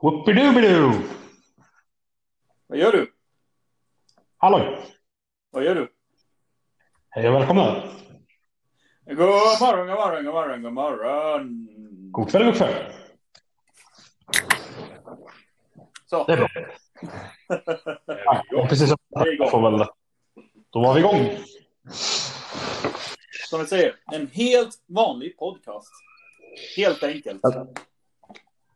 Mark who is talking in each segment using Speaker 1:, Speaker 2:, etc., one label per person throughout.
Speaker 1: Whoopidoo-bidoo!
Speaker 2: Vad gör du?
Speaker 1: Halloj!
Speaker 2: Vad gör du?
Speaker 1: Hej och välkomna!
Speaker 2: God morgon, god morgon, god morgon, god morgon.
Speaker 1: God kväll, god kväll!
Speaker 2: Så.
Speaker 1: Det är bra. Ja, och precis som
Speaker 2: Det är igång.
Speaker 1: får väl... Då var vi igång.
Speaker 2: Som vi säger, en helt vanlig podcast. Helt enkelt.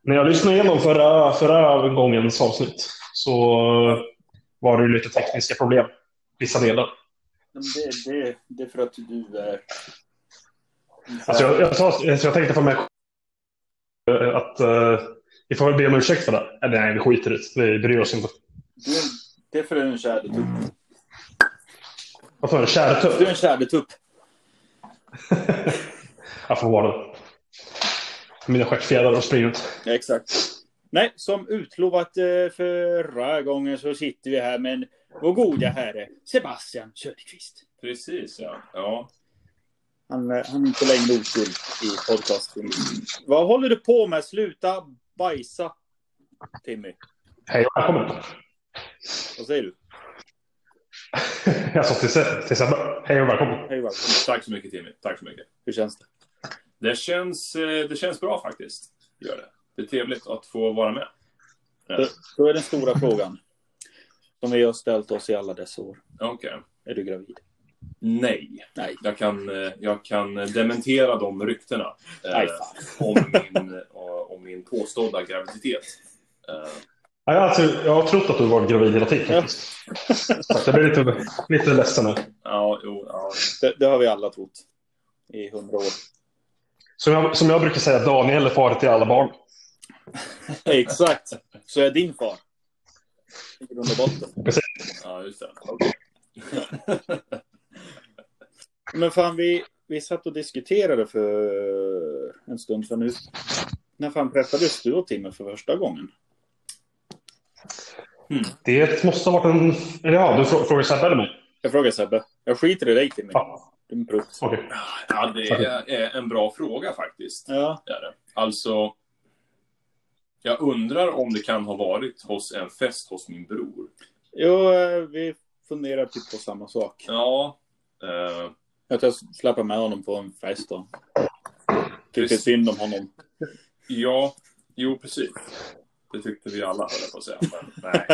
Speaker 1: När jag lyssnade igenom förra, förra gångens avsnitt så eh, var det ju lite tekniska problem. Vissa delar.
Speaker 2: Men Det, det, det är för att du är...
Speaker 1: Alltså jag, jag, sa- jag, jag tänkte för mig eh, att eh, vi får väl be om ursäkt för det. Eller nej, vi skiter i det. Vi bryr oss inte.
Speaker 2: du, är en- det är för att du är en tjädertupp.
Speaker 1: Vad för en kärtupp?
Speaker 2: Du är en tjädertupp.
Speaker 1: Jag får vara det. Mina stjärtfjädrar har spridit.
Speaker 2: Ja, exakt. Nej, som utlovat eh, förra gången så sitter vi här med en, vår goda herre Sebastian Söderqvist.
Speaker 3: Precis, ja. ja.
Speaker 2: Han, eh, han är inte längre oskuld i podcasten. Vad håller du på med? Sluta bajsa, Timmy.
Speaker 1: Hej och välkommen.
Speaker 2: Vad säger du?
Speaker 1: Jag sa till Se- till Sebbe, hej och välkommen.
Speaker 2: Hej, välkommen.
Speaker 3: Tack så mycket, Timmy. Tack så mycket.
Speaker 2: Hur känns det?
Speaker 3: Det känns, eh, det känns bra faktiskt. Det Gör det. det är trevligt att få vara med. Ja.
Speaker 2: Då är den stora frågan. Som vi har ställt oss i alla dessa år.
Speaker 3: Okej.
Speaker 2: Är du gravid?
Speaker 3: Nej.
Speaker 2: Nej.
Speaker 3: Jag kan, eh, jag kan dementera de ryktena eh,
Speaker 2: Nej, fan.
Speaker 3: om, min, eh, om min påstådda graviditet. Eh,
Speaker 1: Ja, jag, alltså, jag har trott att du var gravid hela tiden.
Speaker 2: Ja.
Speaker 1: faktiskt. Så att jag blir lite, lite ledsen nu.
Speaker 3: ja, jo, ja.
Speaker 2: Det, det har vi alla trott. I hundra år.
Speaker 1: Som jag, som jag brukar säga, Daniel är far till alla barn.
Speaker 2: Exakt. Så är din far. I grund och botten.
Speaker 3: ja, just det.
Speaker 2: Men fan, vi, vi satt och diskuterade för en stund sedan. nu. När fan träffades du och Timmy för första gången?
Speaker 1: Det måste ha varit en... Eller ja, du frå- frågar Sebbe eller mig?
Speaker 2: Jag frågar Sebbe. Jag skiter i dig Timmy.
Speaker 1: Ja,
Speaker 2: Du är en prutt.
Speaker 1: okej.
Speaker 3: Ja, det är är en bra fråga faktiskt.
Speaker 2: Ja.
Speaker 3: Det är det. Alltså, jag undrar om det kan ha varit hos en fest hos min bror.
Speaker 2: Jo, eh, vi funderar typ på samma sak.
Speaker 3: Ja. eh,
Speaker 2: Att jag släpper med honom på en fest då.
Speaker 1: Typ
Speaker 2: Tycker
Speaker 3: Precis.
Speaker 2: synd om honom.
Speaker 3: ja, jo precis. Det tyckte vi alla höll jag på att säga. Men, nej.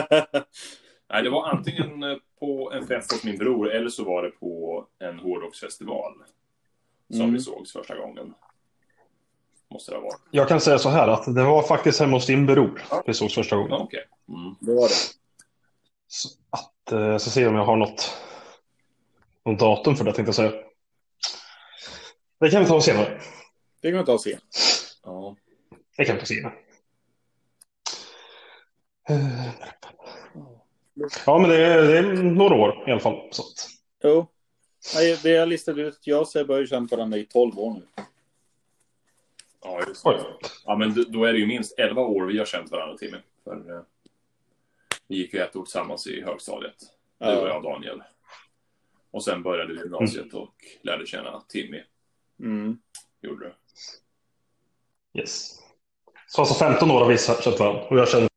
Speaker 3: nej, det var antingen eh, på en fest hos min bror eller så var det på en hårdrocksfestival. Som
Speaker 2: Mm.
Speaker 3: vi sågs första gången. Måste det ha varit.
Speaker 1: Jag kan säga så här att det var faktiskt hemma hos din bror vi sågs första gången.
Speaker 3: Ja, Okej. Mm.
Speaker 2: Det var det.
Speaker 1: Så att, eh, jag ska se om jag har något, något datum för det tänkte jag säga. Det kan vi ta senare.
Speaker 2: Det kan vi ta sen.
Speaker 3: Ja.
Speaker 1: Det kan vi ta senare. Eh, Ja, men det är, det är några år i alla fall. Så att,
Speaker 2: Jo. Nej, det jag listade ut. Jag och Sebbe har ju känt varandra i 12 år nu.
Speaker 3: Ja, just
Speaker 1: oj.
Speaker 3: det. Ja, men då- då är det ju minst 11 år vi har känt varandra, Timmy. För eh, vi gick ju ett år tillsammans i högstadiet. Du och jag, Daniel. Och sen började vi gymnasiet
Speaker 1: Mm.
Speaker 3: och lärde känna Timmy.
Speaker 2: Mm.
Speaker 3: Gjorde du?
Speaker 1: Yes. Så alltså 15 år har vi känt varandra. Och jag känner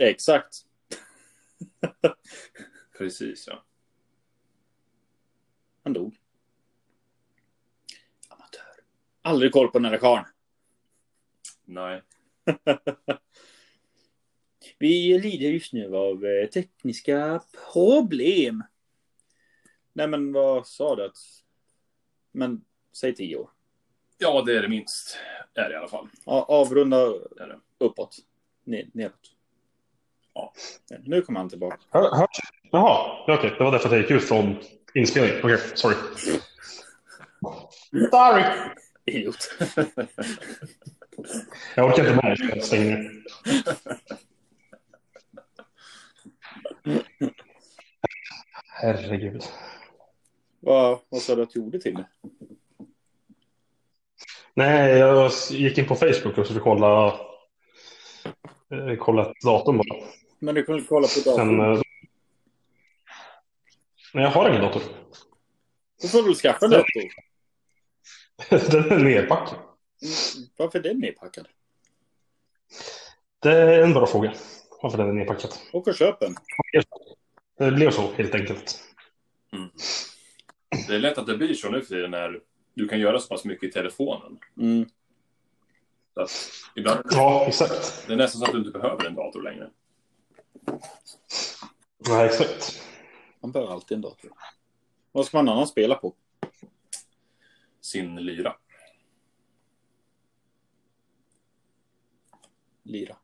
Speaker 2: Exakt.
Speaker 3: Precis, ja.
Speaker 2: Han dog. Amatör. Aldrig koll på den här karln.
Speaker 3: Nej.
Speaker 2: Vi lider just nu av eh, tekniska problem. Nej, men vad sa du? Att... Men säg 10 år.
Speaker 3: Ja, det är det minst. Är det i alla fall.
Speaker 2: Ja, avrunda
Speaker 3: Det är det.
Speaker 2: uppåt. Ner, neråt. Ja. Nu kommer han tillbaka.
Speaker 1: Hör, hörs. Jaha, ja, okej. Det var därför att jag gick ut från inspelningen. Okej, sorry. Sorry!
Speaker 2: Idiot.
Speaker 1: Jag orkar inte med det. Jag stänger ner. Herregud.
Speaker 2: vad, vad sa du att du gjorde till mig?
Speaker 1: Nej, jag gick in på Facebook och skulle kolla, eh, kolla ett datum bara.
Speaker 2: Men du kunde kolla på
Speaker 1: Sen,
Speaker 2: datorn.
Speaker 1: eh, men jag har ingen dator.
Speaker 2: Då får du väl skaffa en dator.
Speaker 1: Den är nerpackad.
Speaker 2: Mm, Varför är den nedpackad?
Speaker 1: Det är Eh, en bra fråga. Varför den är nedpackad.
Speaker 2: Åk och köp en.
Speaker 1: Det blev så helt enkelt.
Speaker 3: Det är lätt att det blir så nu för tiden när du kan göra så pass mycket i telefonen.
Speaker 2: Mm.
Speaker 3: Så att ibland
Speaker 1: Ja, exakt.
Speaker 3: det är nästan så att du inte behöver en dator längre.
Speaker 1: Ja, exakt.
Speaker 2: Man behöver alltid en dator. Vad ska man annan spela på?
Speaker 3: Sin lyra.
Speaker 2: Lira.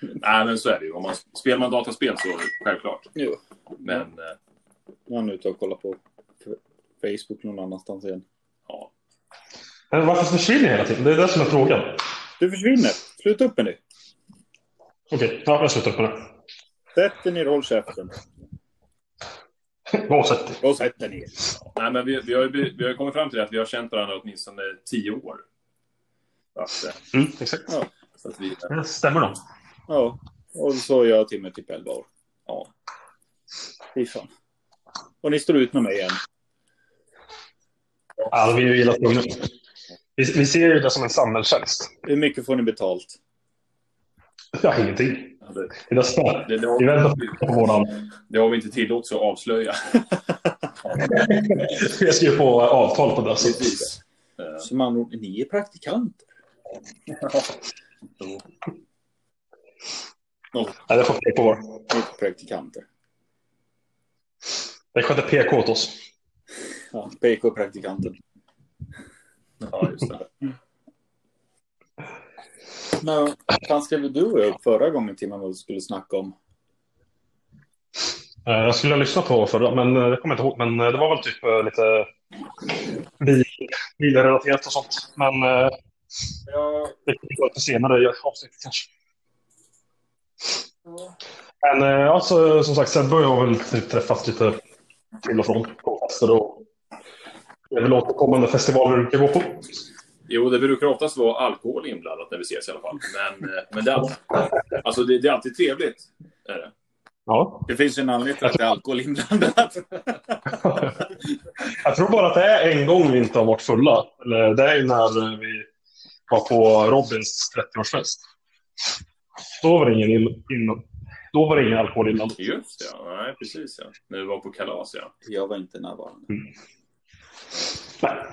Speaker 3: Nej, men så är det ju. Om man, spelar man dataspel så självklart.
Speaker 2: Jo.
Speaker 3: Men eh,
Speaker 2: Nu är han ute och kollar på Facebook någon annanstans igen.
Speaker 3: ja,
Speaker 1: Men Eh, varför försvinner jag hela tiden? Det är det som är frågan.
Speaker 2: Du försvinner. Sluta upp med det.
Speaker 1: Okej, ja, jag slutar på det.
Speaker 2: Sätt dig ner och håll käften.
Speaker 1: Oavsett.
Speaker 2: Och sätt dig ner.
Speaker 3: Nej, men vi, vi, har, ju bli- vi har ju kommit fram till att vi har känt varandra åtminstone tio år. Så att, eh,
Speaker 1: Mm, exakt.
Speaker 2: Ja.
Speaker 3: så att vi,
Speaker 1: Det stämmer nog.
Speaker 2: Ja. Och så är jag till mig typ 11 år.
Speaker 3: ja.
Speaker 2: Fy fan. Och ni står ut med mig igen.
Speaker 1: Ja, vi är ju illa tvungna. Vi, vi ser ju det som en samhällstjänst.
Speaker 2: Hur mycket får ni betalt?
Speaker 1: Ja, ingenting.
Speaker 3: det,
Speaker 1: Det är det som-
Speaker 3: det, det,
Speaker 1: Vi
Speaker 3: har,
Speaker 1: väntar på våran...
Speaker 3: det har vi inte tillåtelse att avslöja.
Speaker 1: Jag skriver på avtal på det. Så.
Speaker 3: Precis. Eh,
Speaker 2: Som andra ord, ni är praktikanter.
Speaker 3: så-
Speaker 1: Ja, det får fler på vår.
Speaker 2: Ni är praktikanter.
Speaker 1: Det sköter PK åt oss.
Speaker 2: Ja, PK-praktikanten.
Speaker 3: Ja, just det.
Speaker 2: Men fan skrev du och jag upp förra gången Timman vad vi skulle snacka om?
Speaker 1: Eh, Jag skulle ha lyssnat på förra, men eh, det kommer jag inte ihåg. Men eh, det var väl typ eh, lite bil, bilrelaterat och sånt. Men eh,
Speaker 2: Ja.
Speaker 1: det kan vi ta lite senare i avsnittet kanske. Men eh, alltså, som sagt, Sebbe och jag har väl typ träffats lite till och från på fester och det är väl återkommande festivaler vi brukar gå på.
Speaker 3: Jo, det brukar oftast vara alkohol inblandat när vi ses i alla fall. Men, eh, men det, är alltid, alltså, det, det är alltid trevligt. Är det.
Speaker 1: Ja.
Speaker 2: Det finns ju en anledning till att det är alkohol inblandat.
Speaker 1: Jag tror bara att det är en gång vi inte har varit fulla. Eller, det är ju när vi var på Robins 30-årsfest. Då var det ingen, ill- innan. Då var det ingen alkohol inblandat.
Speaker 3: Just det, ja. Nej, precis. Ja. När vi var på kalas, ja.
Speaker 2: Jag var inte närvarande.
Speaker 1: Nej.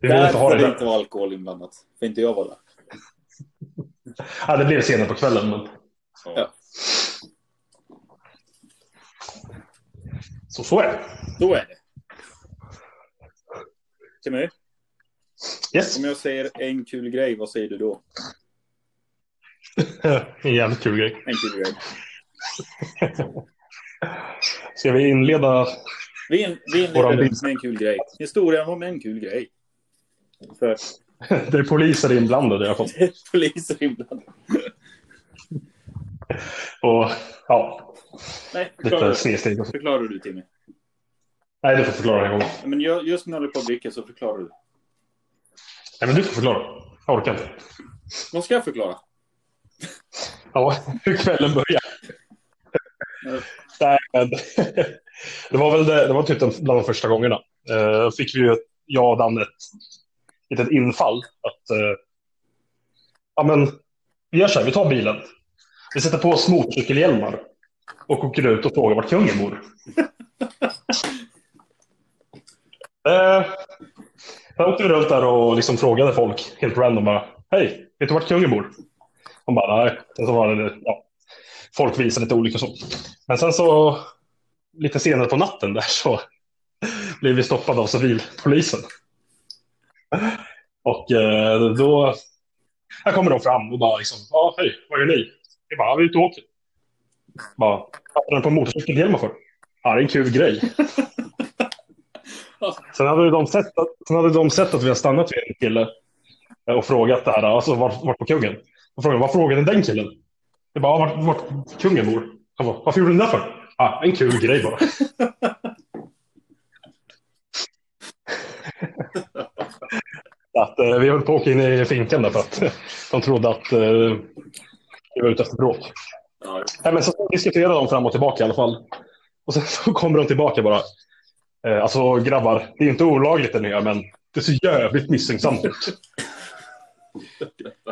Speaker 1: Vi vill inte ha det
Speaker 2: Därför det
Speaker 1: där.
Speaker 2: inte var alkohol inblandat. För inte jag var där.
Speaker 1: Ja, det blev senare på kvällen. Men...
Speaker 3: ja.
Speaker 2: Ja.
Speaker 1: Så, så är det.
Speaker 2: Då är det. Timmy,
Speaker 1: Yes.
Speaker 2: om jag säger en kul grej, vad säger du då?
Speaker 1: En jävligt kul grej.
Speaker 2: En kul grej.
Speaker 1: Ska vi inleda?
Speaker 2: Vi, in, vi
Speaker 1: Våran
Speaker 2: inleder
Speaker 1: bild.
Speaker 2: med en kul grej. Historien om en kul grej. För
Speaker 1: Det är poliser inblandade i alla fall.
Speaker 2: poliser inblandade.
Speaker 1: Och ja,
Speaker 2: Nej, förklara,
Speaker 1: lite snedsteg.
Speaker 2: förklarar du Timmy.
Speaker 1: Nej, du får förklara en gång.
Speaker 2: Ja, Men jag, just när jag håller på att dricka så förklarar du.
Speaker 1: Nej, men du får förklara. Jag orkar inte.
Speaker 2: Vad ska jag förklara?
Speaker 1: Ja, hur kvällen börjar. Nej, men, det var väl det, det var typ den, bland de första gångerna. Eh, fick vi ju, ett- jag och Danne, ett litet infall. Att, eh, ja men, vi gör så här, vi tar bilen. Vi sätter på oss motorcykelhjälmar och åker ut och frågar vart kungen bor. eh, jag åkte vi runt där och liksom frågade folk helt random bara, hej, vet du vart kungen bor? De bara, nej. Sen så var det, ja, folk visade lite olika så. Men sen så, lite senare på natten där så blev vi stoppade av civilpolisen. Och eh, då, här kommer de fram och bara liksom, ja hej, vad gör ni? Vi bara, "Ja, vi är ute och åker. Bara, "Varför är den på motorcykelhjälmar för? Ja, det är en kul grej. Sen hade ju de sett att, sen hade de sett att vi har stannat vid en kille eh, och frågat det här, alltså vart, vart på kungen? Och frågade vad frågade den killen? Jag bara, "Ja, vart, vart kungen bor? Han bara, varför gjorde ni det för? Ah, en kul grej bara. Så att, eh, vi höll på att åka in i finkan där för att de trodde att eh, vi var ute efter bråk.
Speaker 3: Ja,
Speaker 1: Nej, men så diskuterade de fram och tillbaka i alla fall. Och sen så kommer de tillbaka bara. Eh, alltså grabbar, det är inte olagligt det ni gör, men Det ser jävligt misstänksamt ut.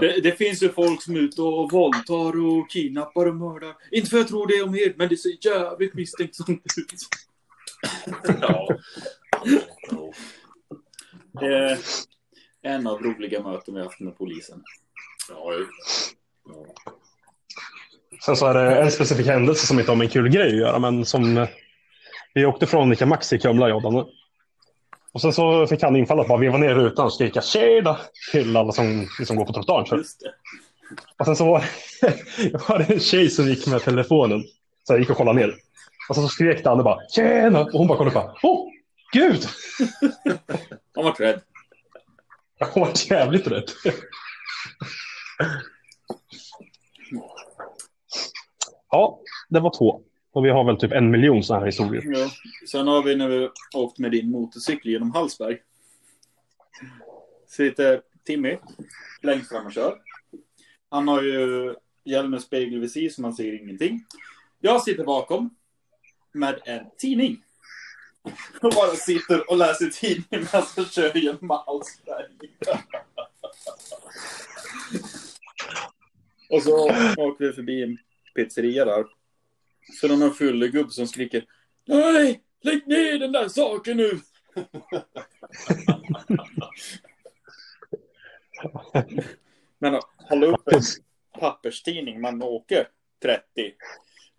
Speaker 2: Det, det finns ju folk som är ute och våldtar och kidnappar och mördar. Inte för jag tror det om er, men det ser jävligt misstänksamt ut.
Speaker 3: Ja. Ja.
Speaker 2: Det är en av roliga möten vi haft med polisen.
Speaker 3: Ja, ju. ja.
Speaker 1: Sen så är det en specifik händelse som inte har med en kul grej att göra, men som... eh, Vi åkte från Ica Maxi i Kumla, jag och Danne. Och sen så fick han infall att bara veva ner rutan och skrika tjena till alla som liksom går på trottoaren. så.
Speaker 2: Just det.
Speaker 1: Och sen så var det, var det en tjej som gick med telefonen. Så jag gick och kollade ner. Och sen så skrek Danne bara tjena och hon bara kollade och bara åh gud.
Speaker 2: Han vart rädd.
Speaker 1: Jag var jävligt rädd. Ja, det var två. Och vi har väl typ en miljon sådana här historier.
Speaker 2: Ja. Sen har vi när vi åkt med din motorcykel genom Hallsberg. Sitter Timmy längst fram och kör. Han har ju hjälm med spegelvisir så man ser ingenting. Jag sitter bakom med en tidning. Och bara sitter och läser tidning medan jag kör genom Hallsberg. och så åker vi förbi en pizzeria där. Så de har fyllegubb som skriker Nej! Lägg ner den där saken nu! Men hålla upp en papperstidning man åker 30.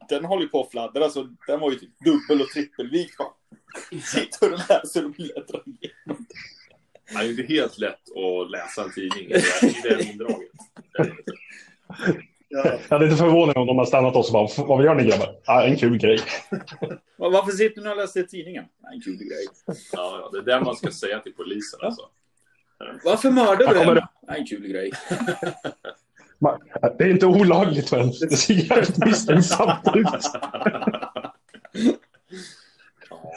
Speaker 2: Den håller ju på att fladdra så den var ju typ dubbel och trippelvikt. va? Sitter och läser och bläddrar i.
Speaker 3: Det är ju inte helt lätt att läsa en tidning i det- i det indraget. Det är det inte.
Speaker 2: Ja.
Speaker 1: Jag hade inte förvånat mig om de hade stannat oss och bara vad gör ni grabbar? Ja, en kul grej.
Speaker 2: Va- Varför sitter ni och läser tidningen? Nej, en kul grej.
Speaker 3: Ja, ja, det är det man ska säga till polisen alltså.
Speaker 2: Varför mördar
Speaker 1: Här
Speaker 2: du
Speaker 1: kommer
Speaker 2: henne? Nej, en kul grej.
Speaker 1: Man- Det är inte olagligt men det ser jävligt misstänksamt ut.
Speaker 3: Ja.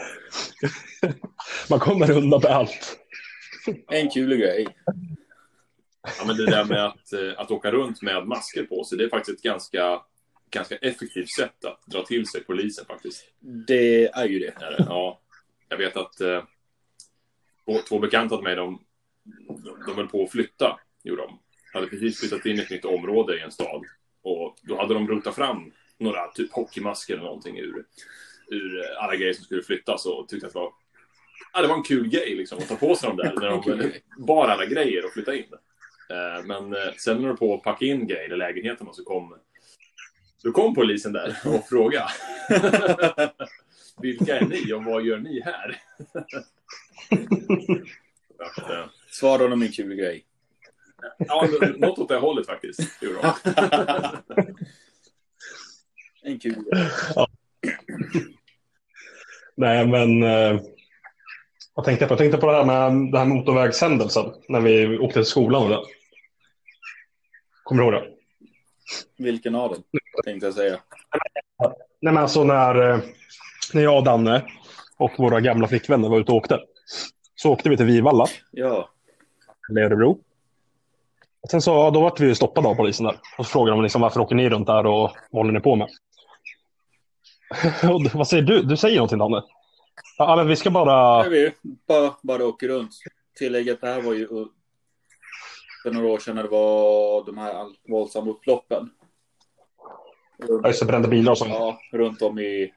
Speaker 1: Man kommer undan med allt.
Speaker 2: En kul grej.
Speaker 3: Ja, men det där med att, eh, att åka runt med masker på sig, det är faktiskt ett ganska, ganska effektivt sätt att dra till sig polisen faktiskt.
Speaker 2: Det är ju det.
Speaker 3: Är det? Ja, jag vet att eh, två, två bekanta till mig, de, de höll på att flytta, gjorde de. Hade precis flyttat in i ett nytt område i en stad. Och då hade de rotat fram några typ hockeymasker eller någonting ur, ur eh, alla grejer som skulle flyttas och tyckte att det var, ja, det var en kul grej liksom, att ta på sig dem där när
Speaker 2: En kul
Speaker 3: de
Speaker 2: grej.
Speaker 3: bar alla grejer och flyttade in. Eh, Men eh, sen när de var på att packa in grejer i lägenheten och så kom, så kom polisen där och frågade vilka är ni och vad gör ni här? Att, eh,
Speaker 2: Svarar de en kul grej.
Speaker 3: ja, n- något åt det hållet faktiskt. gjorde de.
Speaker 2: En kul grej.
Speaker 1: Nej, men eh, vad tänkte jag på? Jag tänkte på det här med den här motorvägshändelsen när vi åkte till skolan. Och det. Kommer du ihåg det?
Speaker 2: Vilken av dem? Tänkte jag säga.
Speaker 1: Nej, men alltså när, eh, när jag och Danne och våra gamla flickvänner var ute och åkte så åkte vi till Vivalla
Speaker 2: Ja.
Speaker 1: eller Örebro. Och Sen så, ja, då vart vi ju stoppade av polisen där. Och så frågade de liksom, varför åker ni runt där och vad håller ni på med? och, då- vad säger du? Du säger någonting Danne? Ja, men vi ska bara...
Speaker 2: Jag vet, bara, bara åker runt. Tillägget, det här var ju uh, för några år sedan när det var de här all- våldsamma upploppen.
Speaker 1: Ja, just det, brända bilar och sånt.
Speaker 2: Ja, runt om i...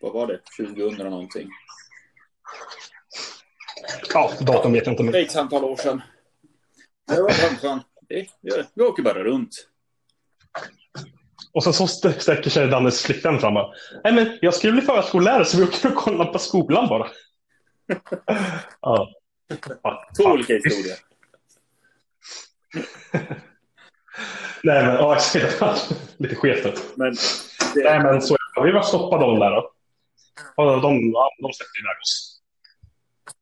Speaker 2: Vad var det? 2000 eller någonting.
Speaker 1: Ja, datum vet jag inte. Men...
Speaker 2: X antal år sedan. Det var chansen. Det gör det. Vi åker bara runt.
Speaker 1: Och sen så st- sträcker sig Dannes flickvän fram och bara, Nej men jag skulle bli förskollärare så vi åker och kollar på skolan bara. ja.
Speaker 2: Två olika historier.
Speaker 1: Nej men ja, exakt. lite skevt.
Speaker 2: Men
Speaker 1: Nej men så ja, vi var stoppade av dem där. då. Och de, ja, de släppte iväg oss.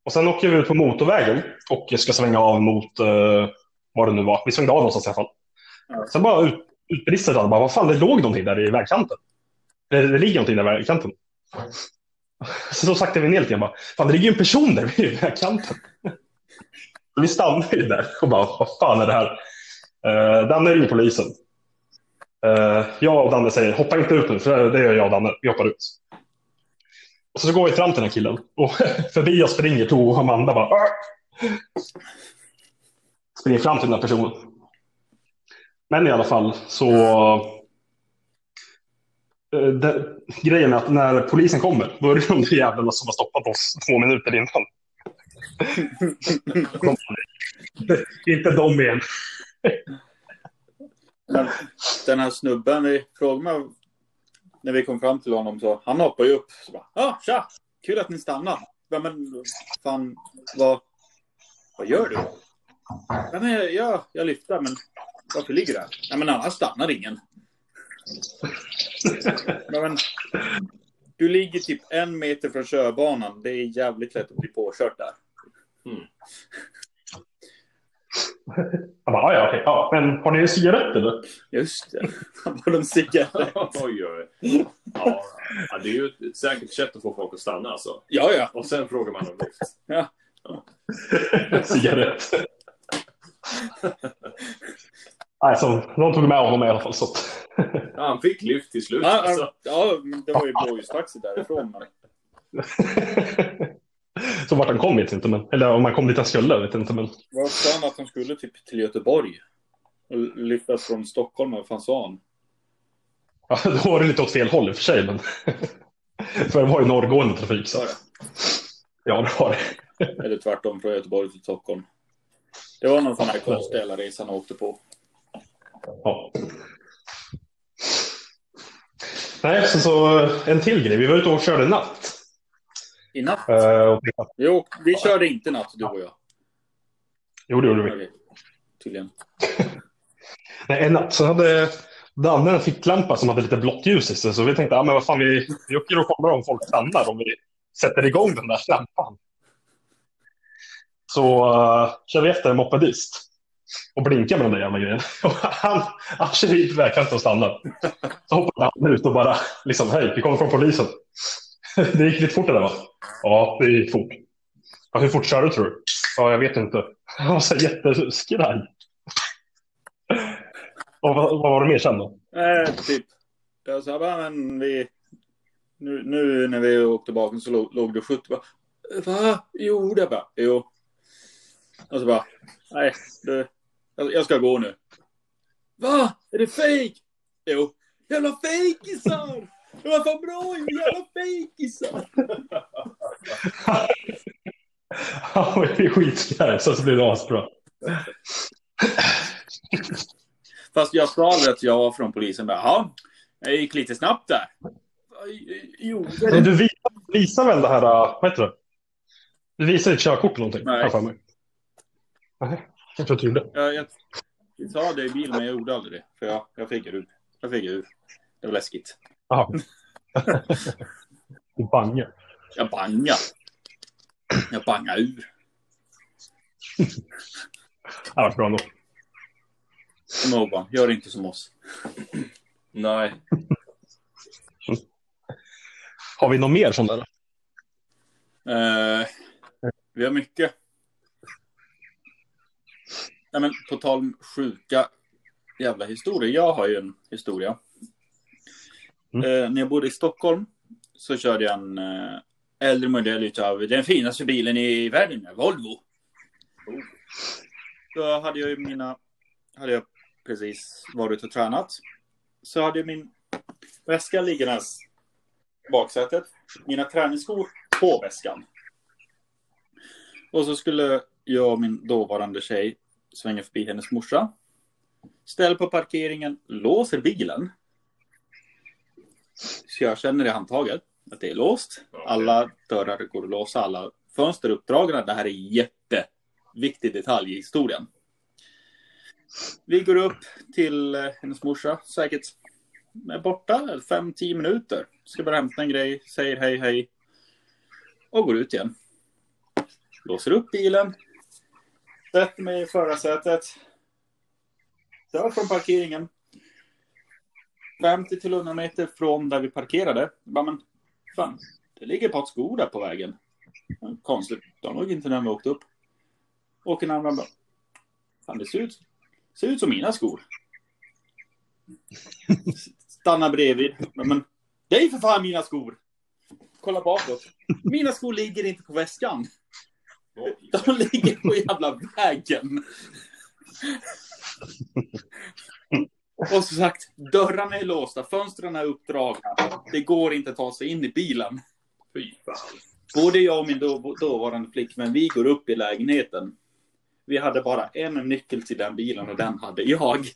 Speaker 1: Och sen åker vi ut på motorvägen och ska svänga av mot eh, vad det nu var. Vi svängde av någonstans i alla fall.
Speaker 2: Ja.
Speaker 1: Sen bara ut, utbrister han bara, vad fan det låg någonting där i vägkanten. Det, det ligger någonting där i vägkanten. Så då saktade vi ner lite grann bara, fan det ligger ju en person där vid vägkanten. Så vi stannade ju där och bara, vad fan är det här? Uh, Danne ringer polisen. Eh, jag och Danne säger, hoppa inte ut nu, för det gör jag och Danne. Vi hoppar ut. Och så går vi fram till den här killen. Och förbi oss springer Tove och Amanda bara. "Arr!" Springer fram till den här personen. Men i alla fall så. eh, Det, grejen är att när polisen kommer, då är det de där jävlarna som har stoppat oss två minuter innan. Kom. Inte de igen.
Speaker 2: Men den här snubben, vi frågade mig när vi kom fram till honom, så han hoppade ju upp. Så bara, ah, tja! Kul att ni stannar. Ja, men fan, vad, vad gör du? Ja, men jag, jag, jag lyfter, men varför ligger du här? Ja, men annars stannar ingen. Ja, men, du ligger typ en meter från körbanan. Det är jävligt lätt att bli påkört där.
Speaker 1: Jag bara, "Ah, "Ja, ja, okej, ja, men har ni en cigarett eller?
Speaker 2: Just det. Han bara, de cigaretter.
Speaker 3: Oj, oj. Ja, ja, det är ju ett, ett säkert sätt att få folk att stanna alltså.
Speaker 2: Ja, ja.
Speaker 3: Och sen frågar man om lyft.
Speaker 1: En cigarett. Nej, så de tog med honom i alla fall. Så. att-
Speaker 3: Ja, han fick lyft till slut.
Speaker 2: Ja,
Speaker 3: Alltså.
Speaker 2: ja, ja, men det var ju blåljustaxi därifrån. Men...
Speaker 1: så vart han kom vet jag inte, men, eller om han kom dit han skulle vet jag inte. Men
Speaker 2: Vad sa han att han skulle typ till Göteborg? Och lyftas från Stockholm, vad fan sa han?
Speaker 1: ja, då var det lite åt fel håll i och för sig. Men, för det var ju norrgående trafik. Så.
Speaker 2: Var det?
Speaker 1: Ja, det var det.
Speaker 2: Eller tvärtom, från Göteborg till Stockholm. Det var någon sån här konstig jävla resa han åkte på.
Speaker 1: Ja. Nej, så, så en till grej. Vi var ute och körde natt.
Speaker 2: I natt?
Speaker 1: Eh, och-
Speaker 2: Jo, vi körde inte natt, du och jag.
Speaker 1: Jo, det gjorde vi.
Speaker 2: Okej. Tydligen.
Speaker 1: Nej, en natt så hade Danne en ficklampa som hade lite blått ljus i sig. Så vi tänkte, ja men vad fan, vi, vi åker och kollar om folk stannar om vi sätter igång den där lampan. Så uh, kör vi efter en mopedist och blinkar med den där jävla grejen. Och han, han kör hit vägkanten och stannar. Så hoppar han ut och bara, liksom, hej, vi kommer från polisen. Det gick lite fort det där va? Ja, det gick fort. Ja, hur fort kör du tror du? Ja, jag vet inte. Han var så här jätteskraj. Och vad, vad var det mer sen då?
Speaker 2: Eh, typ. Jag sa bara, men vi... Nu, nu när vi åkte bakom så låg, låg du 70. Bara, Va? Jo, det bara. Jo. Och så bara, nej, du, jag, jag ska gå nu. Va? Är det fake? Jo. Jävla fejkisar! Det var för bra ju, jävla fejkisar!
Speaker 1: Han var ju skitskraj, så så blev det asbra.
Speaker 2: Fast jag sa aldrig att jag var från polisen. Bara, ja, jag gick lite snabbt där. Jo, det är
Speaker 1: Men
Speaker 2: det.
Speaker 1: du visar, visar väl det här, äh, vad heter det? Du visar ditt körkort eller någonting?
Speaker 2: Nej.
Speaker 1: har jag för mig. Nej, kanske inte gjorde.
Speaker 2: Jag, jag, jag sa det i bilen, men jag gjorde aldrig det. För jag, jag fick ur. Jag fick ur. Det var läskigt.
Speaker 1: Jaha. Du bangar.
Speaker 2: Jag bangar. Jag bangar ur.
Speaker 1: Det var bra ändå.
Speaker 2: Kom ihåg bara, gör inte som oss.
Speaker 3: Nej.
Speaker 1: Har vi något mer sånt där?
Speaker 2: Eh, vi har mycket. Nej, men på tal om sjuka jävla historier. Jag har ju en historia.
Speaker 1: Mm.
Speaker 2: Eh, när jag bodde i Stockholm så körde jag en eh, äldre modell utav den finaste bilen i världen, Volvo. Då hade jag ju mina, hade jag precis varit och tränat. Så hade jag min väska liggandes i baksätet. Mina träningsskor på väskan. Och så skulle jag och min dåvarande tjej svänga förbi hennes morsa. Ställ på parkeringen, låser bilen. Så jag känner i handtaget att det är låst. Alla dörrar går att låsa, alla fönster är uppdragna. Det här är jätteviktig detalj i historien. Vi går upp till eh, hennes morsa, säkert är borta 5-10 minuter. Ska bara hämta en grej, säger hej hej och går ut igen. Låser upp bilen. Sätter mig i förarsätet. Kör från parkeringen. 50 till 100 meter från där vi parkerade. Jag Bara, men fan, det ligger ett par skor där på vägen. Konstigt, de låg inte när vi åkte upp. Åker närmare bara. Fan, det ser ut, ser ut som mina skor. Stannar bredvid. Men, men det är ju för fan mina skor! kolla bakåt. Mina skor ligger inte på väskan.
Speaker 3: Oj.
Speaker 2: De ligger på jävla vägen. Och som sagt, dörrarna är låsta, fönstren är uppdragna. Det går inte att ta sig in i bilen.
Speaker 3: Fy fan.
Speaker 2: Både jag och min då, dåvarande flickvän, vi går upp i lägenheten. Vi hade bara en nyckel till den bilen och den hade jag.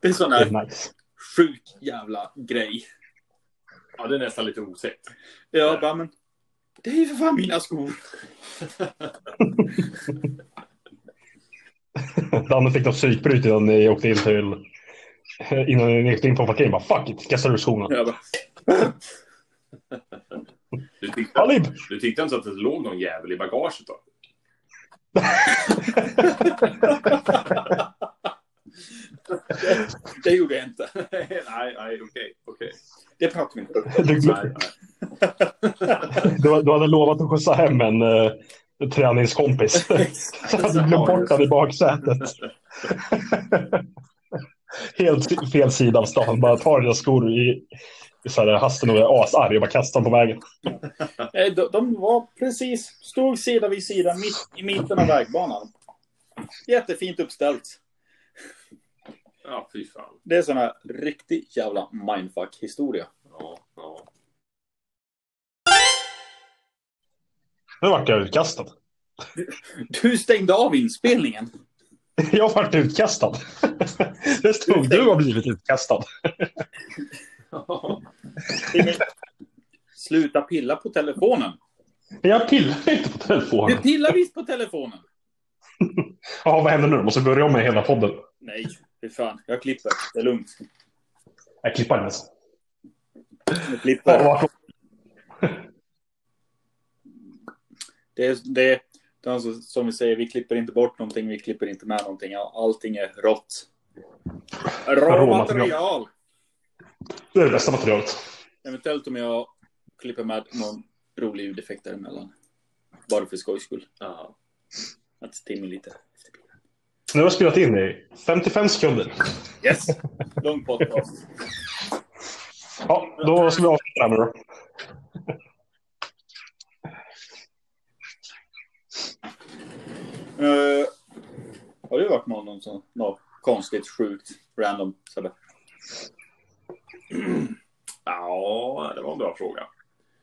Speaker 2: Det är sån
Speaker 1: Det
Speaker 2: där
Speaker 1: är nice.
Speaker 2: sjuk jävla grej.
Speaker 3: Ja, det är nästan lite otäckt.
Speaker 2: Jag bara, men det är ju för fan mina skor.
Speaker 1: Danne fick något psykbryt innan ni åkte in till... Innan ni åkte in på parkeringen. Bara fuck it, kastar ut skorna.
Speaker 2: Jag bara,
Speaker 3: Du tyckte,
Speaker 1: Alib!
Speaker 3: du tyckte inte att det låg någon jävel i bagaget då?
Speaker 2: det gjorde jag inte.
Speaker 3: nej, nej, okej. okej.
Speaker 2: Det pratar vi inte om.
Speaker 1: Du,
Speaker 3: Nej, nej.
Speaker 1: du, du hade lovat att skjutsa hem en eh, träningskompis. Så hade du glömt bort honom i baksätet. Helt fel sida av stan. Bara tar dina skor i, i så här, hasten och är asarg och bara kastar dem på vägen.
Speaker 2: Eh, De, de var precis, stod sida vid sida mitt i mitten av vägbanan. Jättefint uppställt.
Speaker 3: Ja, fy fan.
Speaker 2: Det är sån här riktig jävla mindfuck-historia.
Speaker 3: Ja, ja.
Speaker 1: Nu vart jag utkastad.
Speaker 2: Du stängde av inspelningen.
Speaker 1: Jag vart utkastad. Det stod du har blivit utkastad.
Speaker 2: Sluta pilla på telefonen.
Speaker 1: Men jag pillar inte på
Speaker 2: Du
Speaker 1: telefonen.
Speaker 2: pillar visst på telefonen.
Speaker 1: Ja, vad händer nu? Måste börja om med hela podden.
Speaker 2: Nej, fy fan. Jag klipper. Det är lugnt.
Speaker 1: Jag klippar den ens.
Speaker 2: Jag
Speaker 1: Ja,
Speaker 2: klipper.
Speaker 1: vad-
Speaker 2: Det är, det är, det är alltså, som vi säger, vi klipper inte bort någonting, vi klipper inte med någonting. Allting är rått. Råmaterial.
Speaker 1: Det är det bästa materialet.
Speaker 2: Eventuellt om jag klipper med någon rolig ljudeffekt däremellan. Bara för skojs skull.
Speaker 3: Ja.
Speaker 2: Att stimma lite.
Speaker 1: Nu har jag spelat in i 55 sekunder.
Speaker 2: Yes! Lång podcast.
Speaker 1: Ja, då ska vi avsluta det här nu då.
Speaker 2: Eh, har du varit med om någon sån, något konstigt, sjukt, random? Sebbe?
Speaker 3: ja, det var en bra fråga.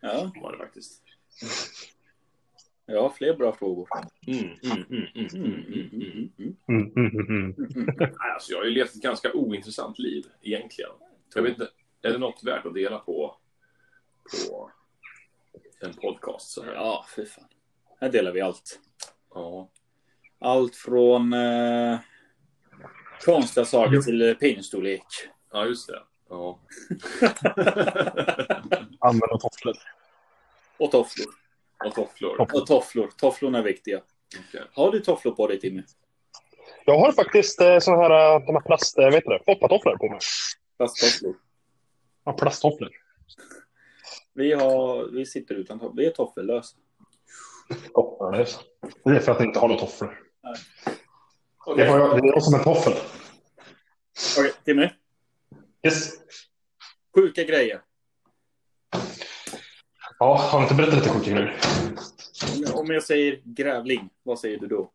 Speaker 2: Ja,
Speaker 3: Var det faktiskt.
Speaker 2: jag har fler bra frågor.
Speaker 3: Mm, mm, mm, mm, mm, mm, mm.
Speaker 2: mm,
Speaker 1: Mm, mm, mm, mm.
Speaker 3: Nej, Alltså, jag har ju levt ett ganska ointressant liv egentligen. Jag vet inte, är det något värt att dela på, på en podcast så här?
Speaker 2: Ja, fy fan. Här delar vi allt.
Speaker 3: Ja.
Speaker 2: Allt från eh, konstiga saker till eh, pinstorlek.
Speaker 3: Ja, just det. Ja.
Speaker 1: Använda tofflor.
Speaker 2: Och tofflor.
Speaker 3: Och tofflor.
Speaker 1: Topp.
Speaker 2: Och tofflor. Tofflorna är viktiga.
Speaker 3: Okej.
Speaker 2: Har du tofflor på dig, Timmy?
Speaker 1: Jag har faktiskt eh, såna här, eh, de här plast... eh, Vad heter det? Foppatofflor på mig.
Speaker 2: Plasttofflor.
Speaker 1: Ja, plasttofflor.
Speaker 2: Vi, har, vi sitter utan tofflor. Vi är toffellösa.
Speaker 1: Tofflor, det är så. Det är för att jag inte har några tofflor. Det
Speaker 2: Okej,
Speaker 1: är, bara, det är jag som är toffel.
Speaker 2: Okej, Timmy.
Speaker 1: Yes.
Speaker 2: Sjuka grejer.
Speaker 1: Ja, har jag inte berättat lite sjuka grejer?
Speaker 2: Om jag, om jag säger grävling, vad säger du då?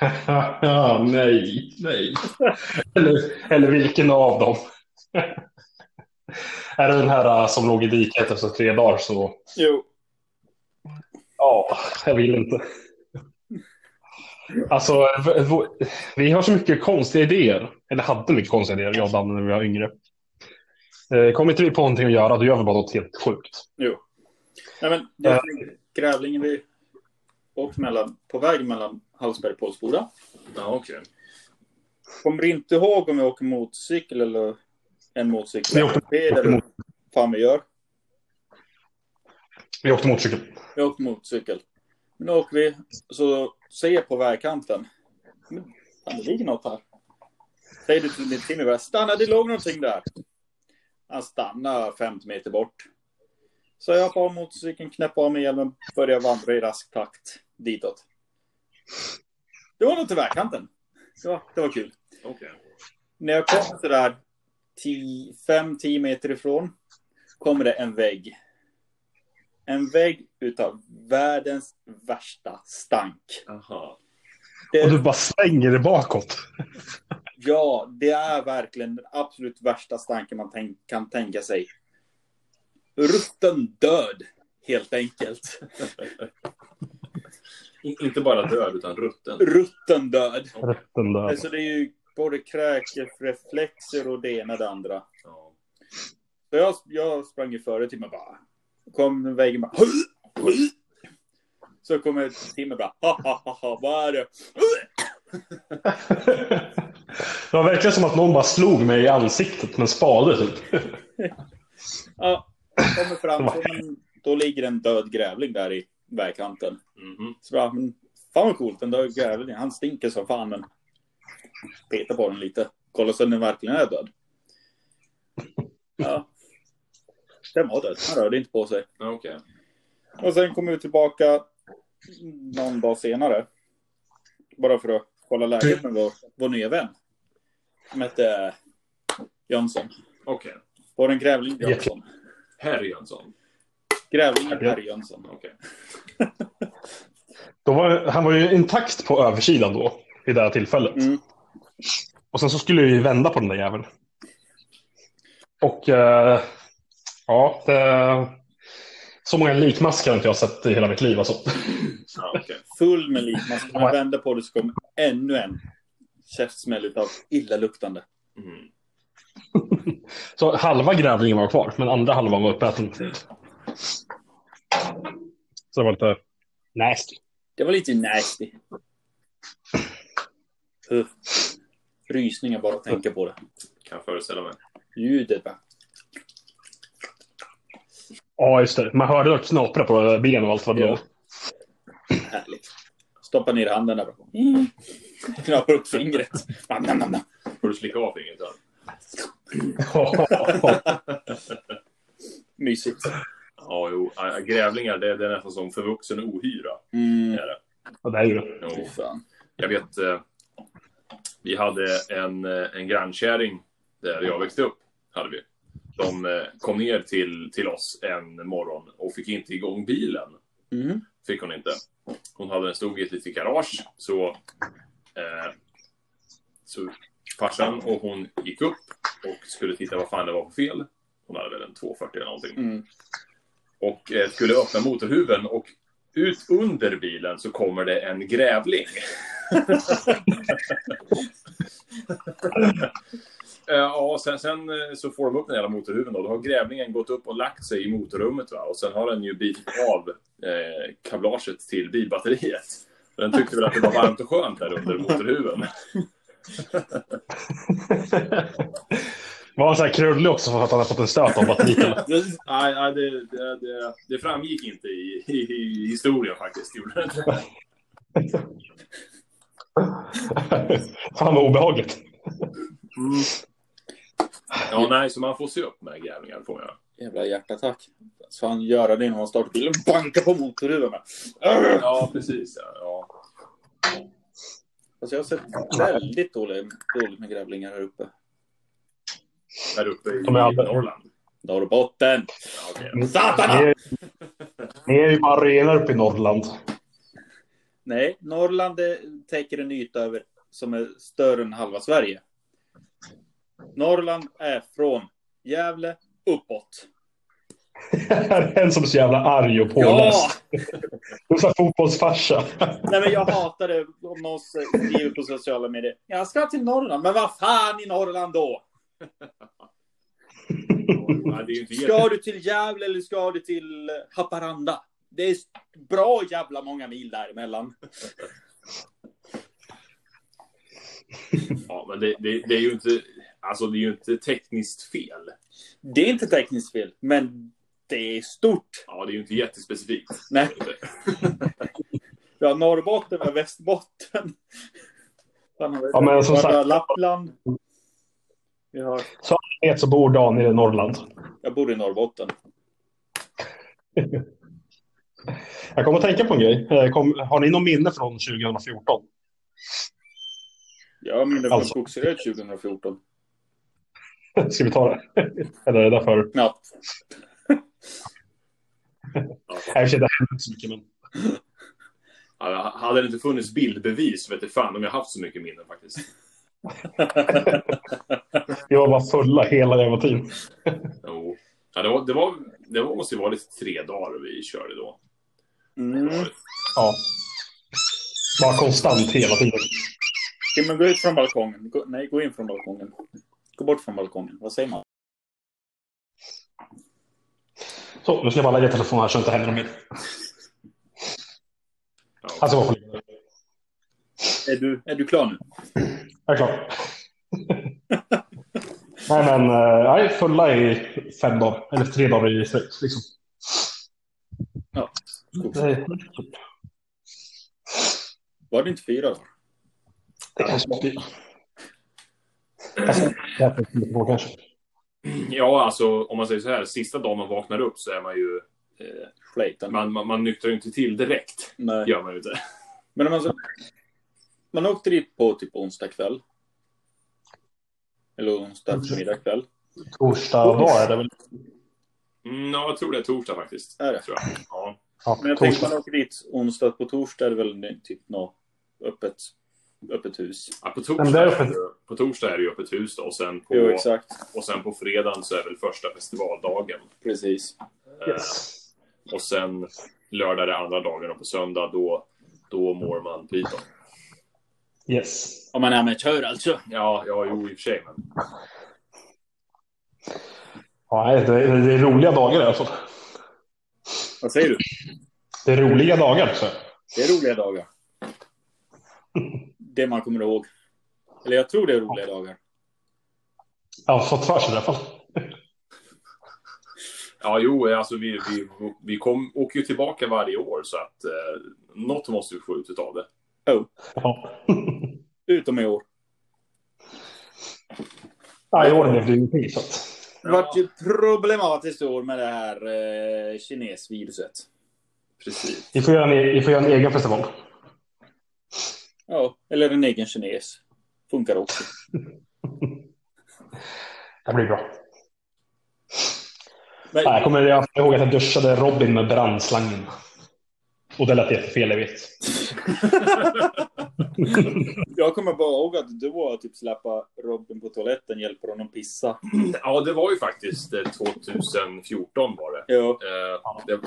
Speaker 1: ja, nej, nej. Eller, eller vilken av dem? är det den här eh, som låg i diket efter tre dagar så...
Speaker 2: Jo.
Speaker 1: Ja, jag vill inte. Alltså, v- v- vi har så mycket konstiga idéer. Eller hade mycket konstiga idéer, jag och Danne, när vi var yngre. Eh, Kommer inte vi på någonting att göra, då gör vi bara något helt sjukt.
Speaker 2: Jo. Nej, men det
Speaker 1: Ja.
Speaker 2: grävlingen vi åkte mellan, på väg mellan Hallsberg och Pålsboda.
Speaker 3: Ja, okej.
Speaker 2: Kommer inte ihåg om vi åker motorcykel eller en motorcykel.
Speaker 1: Vi åkte-
Speaker 2: moped eller vad fan vi gör.
Speaker 1: Vi åkte motorcykel.
Speaker 2: Vi åkte motorcykel. Men nu åker vi så ser jag på vägkanten. Men, fan, det ligger något här. Säger du till din Timmy bara, stanna, det låg någonting där. Han stannar 50 meter bort. Så jag på motorcykeln, knäpper av mig hjälmen, börjar vandra i rask takt ditåt. Det var något till vägkanten. Så, det var kul.
Speaker 3: Okej.
Speaker 2: När jag kom sådär 5-10 meter ifrån kommer det en vägg. En vägg utav världens värsta stank.
Speaker 3: Aha.
Speaker 2: Det,
Speaker 1: Och du bara slänger det bakåt.
Speaker 2: Ja, det är verkligen den absolut värsta stanken man tänk, kan tänka sig. Rutten död, helt enkelt.
Speaker 3: In, inte bara död, utan rutten.
Speaker 2: Rutten död.
Speaker 1: Rätten där.
Speaker 2: Alltså det är ju både kräkreflexer och det ena och det andra.
Speaker 3: Ja.
Speaker 2: Så jag, jag sprang ju före Timmer bara. Kom vägen bara. "Huh, huh." Så kommer Timmer bara. Ha, ha, ha, ha, vad är det?
Speaker 1: Det var verkligen som att någon bara slog mig i ansiktet med en spade typ.
Speaker 2: Ja, kommer fram. Så, men, då ligger en död grävling där i vägkanten.
Speaker 3: Mhm.
Speaker 2: Så bara, men fan vad coolt. Den död grävlingen. Han stinker som fan men. Peta på den lite. Kolla så den verkligen är död. Ja. Den var död. Han rörde inte på sig.
Speaker 3: Ja, Okej.
Speaker 2: Och sen kom vi tillbaka någon dag senare. Bara för att kolla läget med vår, vår nya vän. Som hette Jönsson.
Speaker 3: Okej.
Speaker 2: Var det en grävling Jönsson?
Speaker 3: Herr Jönsson.
Speaker 2: Grävlingen Per Jönsson.
Speaker 3: Okej.
Speaker 1: Då var, han var ju intakt på översidan då, i det här tillfället.
Speaker 2: Mm.
Speaker 1: Och sen så skulle vi vända på den där jäveln. Och eh, ja, det, så många likmaskar har inte jag sett i hela mitt liv. Alltså.
Speaker 3: Ja, okej.
Speaker 2: Full med lik. Man skulle vända på det så kom ännu en käftsmäll utav illaluktande.
Speaker 3: Mm.
Speaker 1: Så halva grävlingen var kvar, men andra halvan var uppäten. Så det var lite nasty.
Speaker 2: Det var lite nasty. Uff. Rysningar bara att tänka på det.
Speaker 3: Kan jag föreställa mig.
Speaker 2: Ljudet bara.
Speaker 1: Ja, just det. Man hörde det knapra på benen och allt vad det
Speaker 2: Ja.
Speaker 1: var.
Speaker 2: Härligt. Stoppa ner handen där bakom. Mm. Knappar upp fingret. Nam, nam, nam, nam.
Speaker 3: Får du slicka av fingret? då?
Speaker 2: Mysigt.
Speaker 3: Ja, jo. Ja, Grävlingar, det, det är nästan som förvuxen ohyra.
Speaker 2: Mm.
Speaker 3: Är det.
Speaker 1: Ja, det är ju det.
Speaker 3: Jo.
Speaker 2: Fy fan.
Speaker 3: Jag vet, eh, vi hade en, eh, en grannkärring där jag växte upp. Hade vi. De eh, kom ner till, till oss en morgon och fick inte igång bilen.
Speaker 2: Mm.
Speaker 3: Fick hon inte. Hon hade den stod i ett litet garage. Så, eh, så farsan och hon gick upp och skulle titta vad fan det var för fel. Hon hade väl en 240 eller någonting
Speaker 2: Mm.
Speaker 3: och eh, skulle öppna motorhuven och ut under bilen så kommer det en grävling. Eh, Ja, sen, sen eh, så får de upp den hela motorhuven då. Då har grävlingen gått upp och lagt sig i motorrummet. Va? Och sen har den ju bitit av eh, kablaget till bilbatteriet. Den tyckte väl att det var varmt och skönt där under motorhuven.
Speaker 1: Var han så här krullig också för att han har fått en stöt av batteriet? eller?
Speaker 3: Nej, nej det, det, det, det framgick inte i, i, i historien faktiskt. Gjorde det inte.
Speaker 1: Fan vad obehagligt.
Speaker 3: Mm. Ja, nej, så man får se upp med grävlingar får man göra.
Speaker 2: Jävla hjärtattack. Så han göra det innan han startar bilen. Banka på motorhuven. Äh! bara. Arr!
Speaker 3: Ja, precis. Ja, ja.
Speaker 2: Alltså jag har sett väldigt dåligt, dåligt med grävlingar här uppe.
Speaker 3: Där uppe i
Speaker 1: De är Mm. alla-
Speaker 3: Norrland.
Speaker 2: Norrbotten.
Speaker 3: Ja, okej.
Speaker 2: Satana!
Speaker 1: Ni är, ni är ju bara renar uppe i Norrland.
Speaker 2: Nej, Norrland eh, täcker en yta över, som är större än halva Sverige. Norrland är från Gävle uppåt.
Speaker 1: Här är en som är så jävla arg och
Speaker 2: Ja!
Speaker 1: påläst. Du är så här fotbollsfarsa.
Speaker 2: Nej, men jag hatar det om någon skriver på sociala medier. Jag ska till Norrland, men vad fan i Norrland då?
Speaker 3: Ja, det är ju inte jätte...
Speaker 2: Ska du till Gävle eller ska du till eh, Haparanda? Det är bra jävla många mil däremellan.
Speaker 3: ja, men det, det, det är ju inte... Alltså, det är ju inte tekniskt fel.
Speaker 2: Det är inte tekniskt fel, men det är stort.
Speaker 3: Ja, det är ju inte jättespecifikt.
Speaker 2: Nej. Vi har Norrbotten, vi har Västerbotten. Sen har vi-
Speaker 1: Ja, men som
Speaker 2: vi har
Speaker 1: sagt-
Speaker 2: Lappland. Vi har...
Speaker 1: Jag vet så bor Daniel i Norrland.
Speaker 2: Jag bor i Norrbotten.
Speaker 1: Jag kommer att tänka på en grej. Eh, Kom, har ni någon minne från 2014?
Speaker 2: Jag minns från
Speaker 1: Alltså.
Speaker 2: skogsröd 2014.
Speaker 1: Ska vi ta det? Eller är det därför?
Speaker 2: Knappt.
Speaker 1: Nej, i och för sig, det händer inte så mycket. Men...
Speaker 3: Ja, hade det inte funnits bildbevis vet jag fan om jag haft så mycket minnen faktiskt.
Speaker 1: Vi var bara fulla hela jävla tiden.
Speaker 3: Jo. Ja, det, var, det, var, det var, måste ju vara lite tre dagar vi körde då.
Speaker 2: Mm.
Speaker 1: Ja. Bara konstant hela tiden.
Speaker 2: Okej, men gå ut från balkongen. Gå, nej, gå in från balkongen. Gå bort från balkongen. Vad säger man?
Speaker 1: Så, nu ska jag bara lägga telefonen här så det inte händer något mer. Alltså,
Speaker 3: Ja.
Speaker 1: Han ska vara på linjen.
Speaker 2: Är du, är du klar nu?
Speaker 1: Jag är klar. nej, men eh, nej, fulla i fem dagar. Eller tre dagar i sträck. Liksom.
Speaker 2: Ja.
Speaker 1: Det är-
Speaker 2: Var det inte fyra dagar?
Speaker 1: det är kanske blir. Alltså, det här får vi på kanske.
Speaker 3: ja, alltså om man säger så här, sista dagen man vaknar upp så är man ju... Eh,
Speaker 2: Flöjten.
Speaker 3: man, man, man nyktrar ju inte till direkt.
Speaker 2: Nej.
Speaker 3: Gör man ju inte.
Speaker 2: Men om man, så, man åkte dit på typ onsdag kväll. Eller onsdag eftermiddag kväll.
Speaker 1: Torsdag dag Mm. är det väl?
Speaker 3: Mm, ja, jag tror det är torsdag faktiskt.
Speaker 2: Är det?
Speaker 3: Tror jag. Ja.
Speaker 1: Ja,
Speaker 2: Men jag tänkte
Speaker 1: torsdag.
Speaker 2: man åker dit onsdag. På torsdag är det väl ny- typ något öppet, öppet hus.
Speaker 3: Ja, på,
Speaker 1: Men det
Speaker 3: torsdag
Speaker 1: är
Speaker 3: är det,
Speaker 1: öppet.
Speaker 3: ju- på torsdag är det ju öppet hus då, och sen på,
Speaker 2: Jo, exakt.
Speaker 3: och sen på fredagen så är väl första festivaldagen.
Speaker 2: Precis.
Speaker 1: Yes.
Speaker 3: Eh, och sen lördag är andra dagen och på söndag då, då mår man pyton.
Speaker 1: yes.
Speaker 2: Om man är amatör alltså.
Speaker 3: Ja, ja, jo i och för sig. Men...
Speaker 1: Ja, nej, det, är, det är roliga dagar i alla fall.
Speaker 2: Vad säger du?
Speaker 1: Det är roliga dagar. Så.
Speaker 2: Det är roliga dagar. Det man kommer ihåg. Eller jag tror det är roliga dagar.
Speaker 1: Jag har fått för sig det i alla fall.
Speaker 3: Ja, jo, alltså vi, vi, vi kom, åker ju tillbaka varje år så att eh, något måste vi få ut av det.
Speaker 1: Ja.
Speaker 2: Utom i år.
Speaker 1: Ja, I år blev det ju ingenting. så att-
Speaker 2: Det vart ju problematiskt i år med det här eh, kinesviruset.
Speaker 3: Precis.
Speaker 1: Vi får göra en, e- vi får göra en egen festival.
Speaker 2: Ja, eller en egen kines. Funkar också.
Speaker 1: Det blir bra.
Speaker 2: Men,
Speaker 1: Nej, jag kommer jag kommer ihåg att jag duschade Robin med brandslangen. Och det lät jättefel, jag vet.
Speaker 2: Jag kommer bara ihåg att du var typ släppa Robin på toaletten, hjälper honom pissa.
Speaker 3: Ja, det var ju faktiskt eh, 2014 var det.
Speaker 2: Ja,
Speaker 3: Eh, det,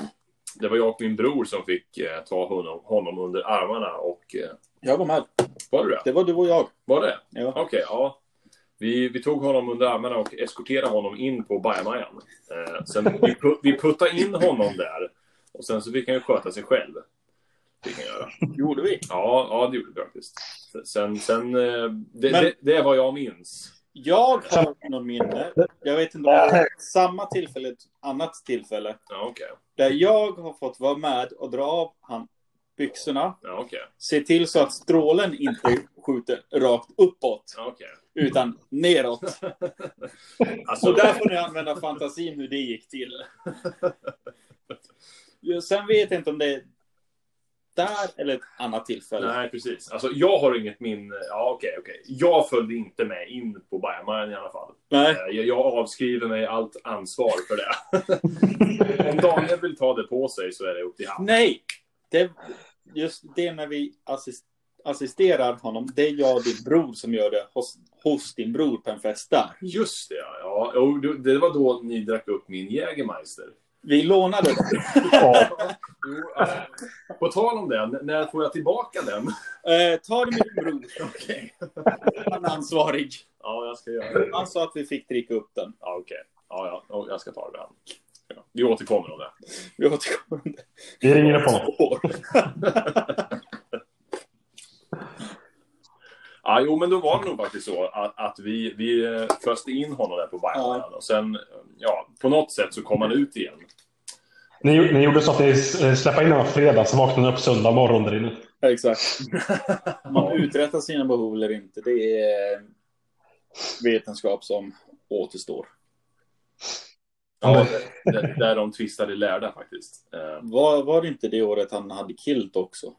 Speaker 3: det var jag och min bror som fick eh, ta honom, honom under armarna och... Eh,
Speaker 2: jag var med.
Speaker 3: var det det?
Speaker 2: Det var du och jag.
Speaker 3: Var det?
Speaker 2: Ja.
Speaker 3: Okej, ja. Vi, vi tog honom under armarna och eskorterade honom in på bajamajan. Eh, sen vi, pu- vi puttade in honom där och sen så fick han ju sköta sig själv. Fick han göra.
Speaker 2: Gjorde vi?
Speaker 3: Ja, ja det gjorde vi faktiskt. Sen, sen, eh, det,
Speaker 2: Men-
Speaker 3: det, det är vad jag minns.
Speaker 2: Jag har någon minne. Jag vet inte om det var samma tillfälle, ett annat tillfälle.
Speaker 3: Ja, okej.
Speaker 2: Där jag har fått vara med och dra av han byxorna.
Speaker 3: Ja, okej.
Speaker 2: Se till så att strålen inte skjuter rakt uppåt,
Speaker 3: Ja, okej.
Speaker 2: utan neråt.
Speaker 3: Alltså,
Speaker 2: Så där får ni använda fantasin hur det gick till. Ja, Sen vet jag inte om det är där eller ett annat tillfälle.
Speaker 3: Nej, precis. Alltså, jag har inget minne. Ja, okej, okej. Jag följde inte med in på bajamajan i alla fall.
Speaker 2: Nej.
Speaker 3: Eh, Jag, jag avskriver mig allt ansvar för det. Om Daniel vill ta det på sig så är det upp till han.
Speaker 2: Nej! Det, just det när vi assist, assisterar honom, det är jag och din bror som gör det hos, hos din bror på en fest där.
Speaker 3: Just det, ja. ja. Jo, du- det var då ni drack upp min Jägermeister.
Speaker 2: Vi lånade den.
Speaker 1: Ja,
Speaker 3: Jo, alltså, på tal om den, när får jag tillbaka den?
Speaker 2: Eh, ta det med din bror. Han är ansvarig.
Speaker 3: Ja, jag ska göra det.
Speaker 2: Han sa att vi fick dricka upp den.
Speaker 3: Ja, okej. Ja, ja. Jo, jag ska ta det med han. Ja. Vi återkommer om det.
Speaker 2: Vi återkommer om det.
Speaker 1: vi ringer på honom.
Speaker 3: Ja, jo, men då var det nog faktiskt så att, att vi, vi eh, föste in honom där på Bayern
Speaker 2: Ja.
Speaker 3: och sen, eh, ja, på något sätt så kom han ut igen.
Speaker 1: Ni, gjo- ni gjorde så att ni s- släppte in honom på fredag, så vaknade ni upp söndag morgon där inne.
Speaker 2: Ja, Exakt. Om man uträttar sina behov eller inte, det är vetenskap som återstår.
Speaker 3: Ja, där, där de tvistade lärda faktiskt. Eh,
Speaker 2: Var, var det inte det året han hade kilt också?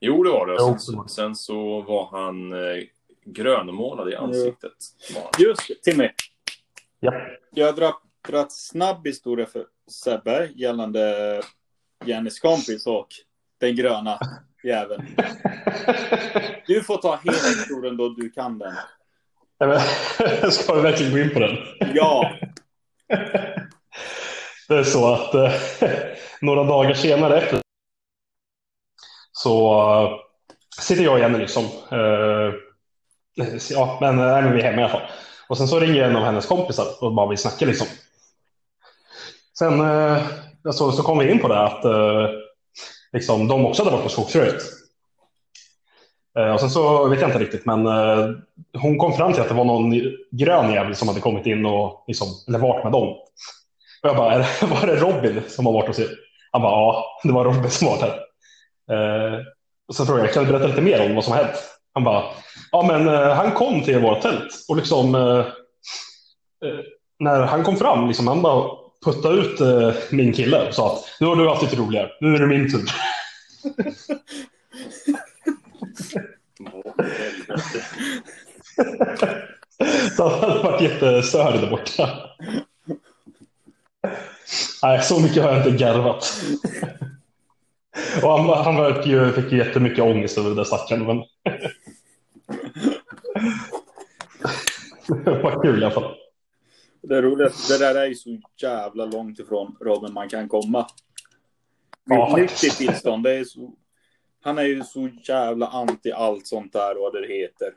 Speaker 3: jo, det var det.
Speaker 1: Jo.
Speaker 3: Sen, så- sen så var han eh, grönmålad i ansiktet. Var han.
Speaker 2: Just det, Timmy.
Speaker 1: Ja.
Speaker 2: Jag drar rätt snabb historia för Sebbe gällande Jennys kompis och den gröna jäveln. Du får ta hela historien då du kan den.
Speaker 1: Nej, men, Ska vi verkligen gå in på den?
Speaker 2: Ja,
Speaker 1: Det är så att eh, några dagar senare efter så eh, sitter jag och Jenny liksom. Eh, ja, men, eh, nej, men vi är hemma i alla fall. Och sen så ringer en av hennes kompisar och bara vill snacka liksom. Sen eh, så, så kom vi in på det att eh, liksom, de också hade varit på skogsröret. Eh, och sen så vet jag inte riktigt, men eh, hon kom fram till att det var någon grön jävel som hade kommit in och liksom, eller varit med dem. Och jag bara, är det- var det Robin som har varit hos er? Han bara, ja, det var Robin som var här. Eh, och så frågade jag, kan du berätta lite mer om vad som har hänt? Han bara, ja men eh, han kom till vårt tält och liksom eh, eh, när han kom fram, liksom, han bara puttade ut eh, min kille och sa att nu har du haft lite roligare, nu är det min tur.
Speaker 3: Åh, helvete.
Speaker 1: Så han hade varit jättestörd där borta. Nej, så mycket har jag inte garvat. Och han, han var ju, fick ju jättemycket ångest över det där stackaren. Men... Det var kul i alla fall.
Speaker 2: det roligaste, det där är ju så jävla långt ifrån Robin man kan komma.
Speaker 1: Ja,
Speaker 2: Nyttigt
Speaker 1: faktiskt.
Speaker 2: tillstånd, det är så... Han är ju så jävla anti allt sånt där och vad det heter.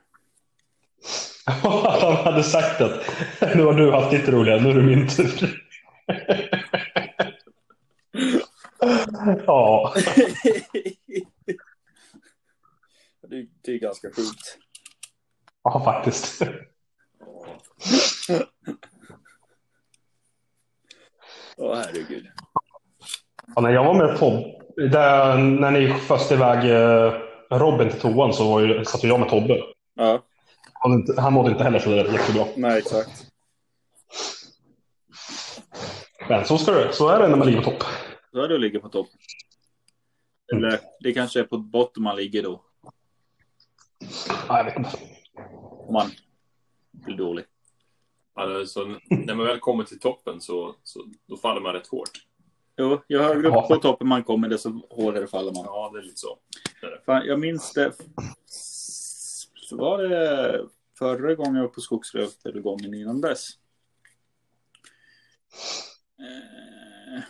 Speaker 1: Att han hade sagt att nu har du haft ditt roliga, nu är det min tur. Ja,
Speaker 2: det, det är ganska sjukt.
Speaker 1: ja faktiskt.
Speaker 3: Ja.
Speaker 2: Åh herregud.
Speaker 1: Ja, när jag var med Tob, där, när ni först iväg eh, Robin till toan så var ju, satt ju jag med Tobbe.
Speaker 2: Ja,
Speaker 1: Han, inte- han mådde inte heller så där jättebra.
Speaker 2: nej exakt.
Speaker 1: Men så, ska det, så är det när man ligger på topp.
Speaker 2: Då är det att ligga på topp. Eller det kanske är på botten man ligger då.
Speaker 1: Ja, jag vet inte.
Speaker 2: Om man blir dålig.
Speaker 3: Alltså, så n- när man väl kommer till toppen så, så då faller man rätt hårt.
Speaker 2: Jo, ju högre
Speaker 1: Ja.
Speaker 2: upp på toppen man kommer desto hårdare faller man.
Speaker 3: Ja, det är lite så.
Speaker 2: Fan, jag minns det. Så var det förra gången jag var på Skogslöv eller gången innan dess. Eh,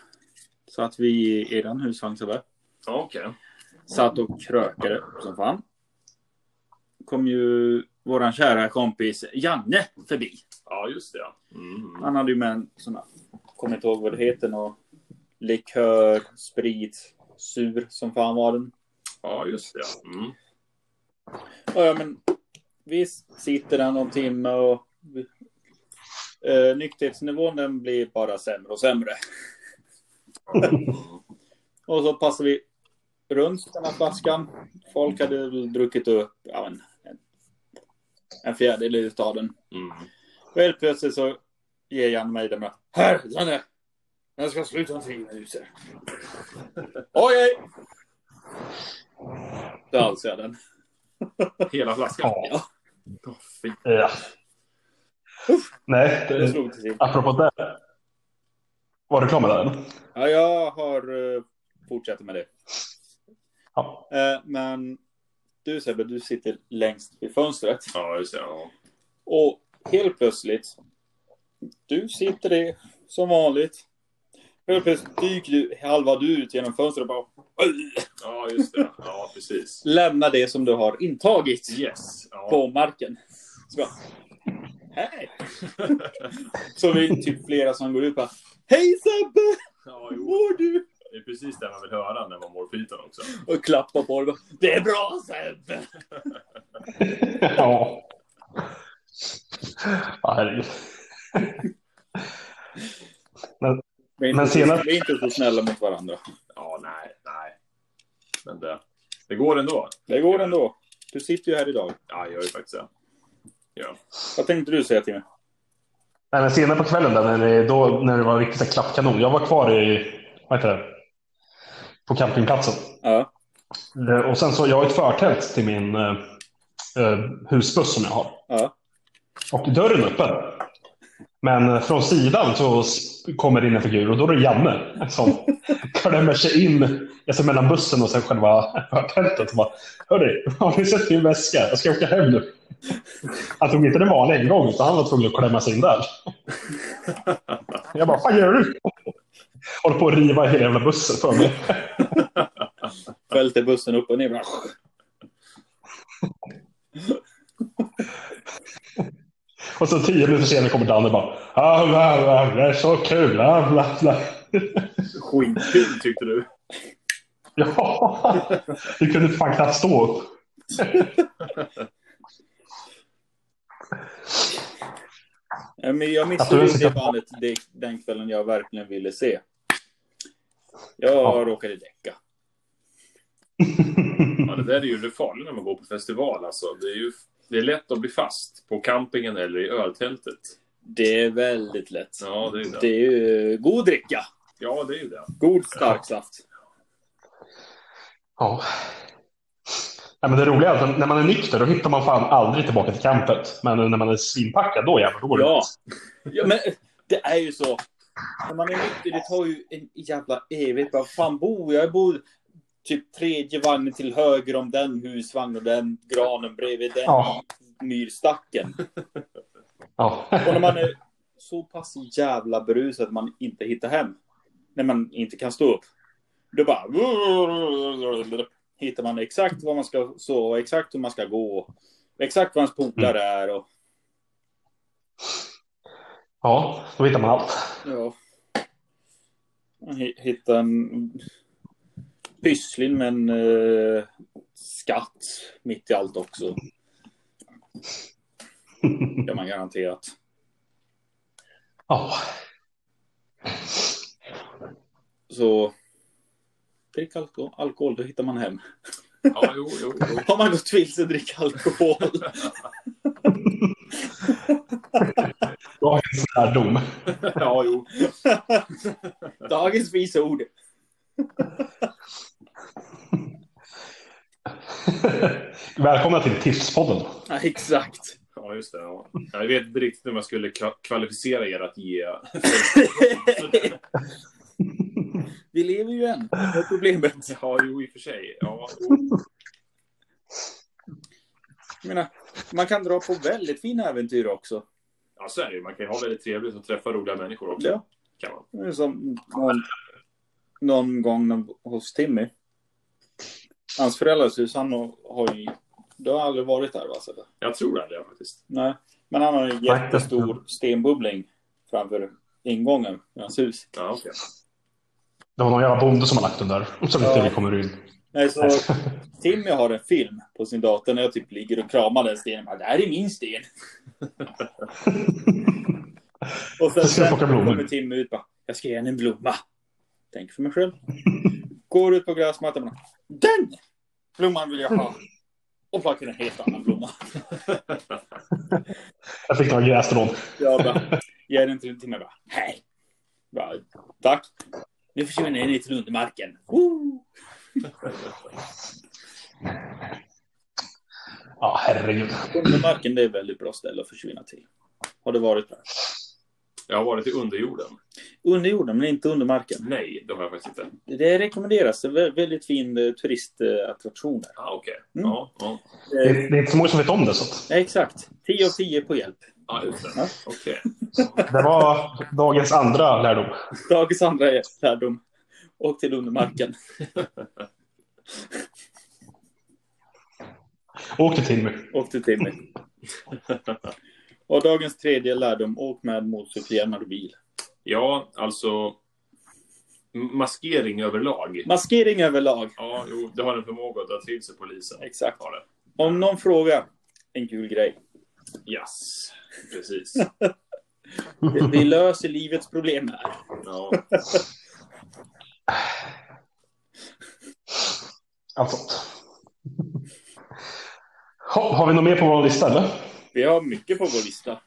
Speaker 2: Så att vi i eran husvagn så där,
Speaker 3: Ja, okej.
Speaker 2: satt och krökade som fan. Kom ju våran kära kompis Janne förbi.
Speaker 3: Ja, just det. ja. Mm.
Speaker 2: Han hade ju med en sån här, kommer inte ihåg vad det heter, och likör, sprit, sur som fan var den.
Speaker 3: Ja, just det. ja. Mm.
Speaker 2: Ja, ja, men vi sitter där någon timme och eh, nykterhetsnivån den blir bara sämre och sämre. och så passar vi runt den här flaskan. Folk hade väl druckit upp ja, men, en, en fjärdedel utav den.
Speaker 3: Mm.
Speaker 2: Och helt plötsligt så ger Jan mig den med. Här, Janne! Den ska sluta om tio minuter. Okej! Då alls jag den.
Speaker 3: Hela flaskan?
Speaker 1: Ja.
Speaker 3: Åh, fy.
Speaker 1: ja. Nej,
Speaker 2: Det
Speaker 1: det,
Speaker 2: slog till sig.
Speaker 1: apropå det. Var du klar med den?
Speaker 2: Ja, jag har uh, fortsatt med det.
Speaker 1: Ja.
Speaker 2: Eh, men du Sebbe, du sitter längst vid fönstret.
Speaker 3: Ja, just det. Ja.
Speaker 2: Och helt plötsligt, du sitter där som vanligt. Helt plötsligt dyker du, halva du ut genom fönstret och bara "Äh,
Speaker 3: ja, just det. Ja, precis.
Speaker 2: lämnar det som du har intagit
Speaker 3: Yes. Ja.
Speaker 2: på marken. Så bara, hej! Så vi är typ flera som går ut och bara, hej Sebbe,
Speaker 3: ja,
Speaker 2: hur
Speaker 3: jo.
Speaker 2: mår du?
Speaker 3: Det är precis det man vill höra när man mår pyton också.
Speaker 2: Och klappar på dig och bara, det är bra Sebbe!
Speaker 1: Ja. Ja, herregud.
Speaker 2: Vi är inte,
Speaker 1: Men senast-
Speaker 2: vi är inte så snälla mot varandra.
Speaker 3: Ja, nej, nej. Men det, det går ändå.
Speaker 2: Det går ändå. Du sitter ju här idag.
Speaker 3: Ja, jag gör ju faktiskt det. Ja.
Speaker 2: Vad tänkte du säga till mig?
Speaker 1: Nej, men senare på kvällen där, när det, då, när det var riktigt så här klappkanon. Jag var kvar i, vad heter det, på campingplatsen.
Speaker 2: Ja.
Speaker 1: Det- Eh, Och sen så, jag har ett förtält till min eh, eh, husbuss som jag har.
Speaker 2: Ja.
Speaker 1: Och dörren är öppen. Men eh, från sidan så s- kommer det in en figur och då är det Janne som klämmer sig in alltså mellan bussen och sen själva tältet. och bara, Hörni, har ni sett min väska? Jag ska åka hem nu. Han tog inte den vanliga ingången utan han var tvungen att klämma sig in där. Jag bara, vad gör du? Håller på att riva hela jävla bussen för mig.
Speaker 2: Fälte bussen upp och ner. Bara.
Speaker 1: Och så tio minuter senare kommer Danne och bara, ah, bla, bla, det är så kul, ah, bla, bla.
Speaker 3: Skitkul tyckte du.
Speaker 1: Ja, du kunde fan knappt stå upp.
Speaker 2: Ja, Men jag
Speaker 1: Att du
Speaker 2: missade
Speaker 1: ens
Speaker 2: det
Speaker 1: kan-
Speaker 2: bandet det, den kvällen jag verkligen ville se. Jag
Speaker 1: Ja.
Speaker 2: råkade däcka.
Speaker 3: Ja, det där är ju det farliga när man går på festival. Alltså. Det, är ju, det är lätt att bli fast på campingen eller i öltältet.
Speaker 2: Det är väldigt lätt.
Speaker 3: Ja, det är ju
Speaker 2: Det
Speaker 3: det.
Speaker 2: är ju god dricka.
Speaker 3: Ja, det är ju det.
Speaker 2: God stark saft.
Speaker 1: Ja. Nej, men det roliga är att när man är nykter då hittar man fan aldrig tillbaka till campet. Men när man är svinpackad då jävlar, då går det
Speaker 2: Ja.
Speaker 1: lätt.
Speaker 2: Ja, men det är ju så. När man är nykter, det tar ju en jävla evighet. Var fan bor jag? Jag bor typ tredje vagnen till höger om den husvagnen och den granen bredvid den
Speaker 1: Ja.
Speaker 2: myrstacken.
Speaker 1: Ja.
Speaker 2: Och när man är så pass jävla berusad att man inte hittar hem. När man inte kan stå upp. Då bara... Hittar man exakt var man ska sova, exakt hur man ska gå. Exakt var ens polare är och...
Speaker 1: ja, då hittar man allt.
Speaker 2: Ja. Hi- Hitta en pyssling med en eh, skatt mitt i allt också. Det har man garanterat.
Speaker 1: Ja.
Speaker 2: Så drick alko- alkohol, då hittar man hem.
Speaker 3: Ja, jo, jo, jo.
Speaker 2: Har man gått vilse, drick alkohol.
Speaker 1: Då har jag en lärdom.
Speaker 3: Ja, jo.
Speaker 2: Dagens visa ord.
Speaker 1: Välkomna till Tipspodden.
Speaker 2: Ja, exakt.
Speaker 3: Ja, just det. Ja. Jag vet inte riktigt hur man skulle kva- kvalificera er att ge... Ja,
Speaker 2: Vi lever ju än. Vad är problemet?
Speaker 3: jo, i och för sig. Ja, jo.
Speaker 2: Jag menar, man kan dra på väldigt fina äventyr också.
Speaker 3: ja, så är det ju. Man kan ju ha väldigt trevligt och träffa roliga människor också.
Speaker 2: Ja.
Speaker 3: Kan man.
Speaker 2: Det är Som någon, någon gång när- hos Timmy. Hans föräldrars hus, han har har ju... Du har aldrig varit där va? Sebbe?
Speaker 3: Jag tror det, ja, faktiskt.
Speaker 2: Nej. Men han har en jättestor stenbubbling framför ingången i hans hus.
Speaker 3: Ja, okej.
Speaker 1: Det var någon jävla bonde som har lagt den där. Som inte
Speaker 2: Ja.
Speaker 1: vi kommer in.
Speaker 2: Nej, så Timmy har en film på sin dator när jag typ ligger och kramar den stenen. Bara, det här är min sten. och sen,
Speaker 1: Jag ska
Speaker 2: sen
Speaker 1: plocka blommor.
Speaker 2: kommer Timmy ut bara, jag ska ge henne en blomma. Tänk för mig själv. Går ut på gräsmattan och bara, den blomman vill jag ha. Och plockar en helt annan blomma.
Speaker 1: Jag fick några grässtrån.
Speaker 2: Jag bara, ger den till Timmy och bara, hej. Bara, Tack. Nu försvinner den ner till undermarken. Woo!
Speaker 1: Ja, herregud.
Speaker 2: Undermarken, det är ett väldigt bra ställe att försvinna till. Har det varit där?
Speaker 3: Jag har varit i underjorden.
Speaker 2: Under jorden, men inte under marken.
Speaker 3: Nej, det har jag faktiskt inte.
Speaker 2: Det rekommenderas. Det är vä- väldigt fin eh, turistattraktion. där.
Speaker 3: Ah, okej.
Speaker 2: Mm.
Speaker 3: Ja, ja.
Speaker 1: Det
Speaker 2: Eh,
Speaker 1: är, det är inte så många som vet om det. Så att.
Speaker 2: ja, exakt. 10 av 10 på hjälp.
Speaker 3: Ja, just det.
Speaker 2: Ja.
Speaker 3: Okej.
Speaker 1: Det var dagens andra lärdom.
Speaker 2: Dagens andra är lärdom. Och till undermarken.
Speaker 1: Åk till Timmy.
Speaker 2: Och till Timmy. Och dagens tredje lärdom. Åk med motorcykel när du vill.
Speaker 3: Ja, alltså... m- Maskering överlag.
Speaker 2: Maskering överlag.
Speaker 3: Ja, jo, det har en förmåga att dra till sig polisen.
Speaker 2: Exakt.
Speaker 3: Har det.
Speaker 2: Om någon frågar. En kul grej.
Speaker 3: Yes, precis.
Speaker 2: Vi- Vi löser livets problem här.
Speaker 3: Ja.
Speaker 1: Allt sånt. Ha, har vi något mer på vår lista eller?
Speaker 2: Vi har mycket på vår lista.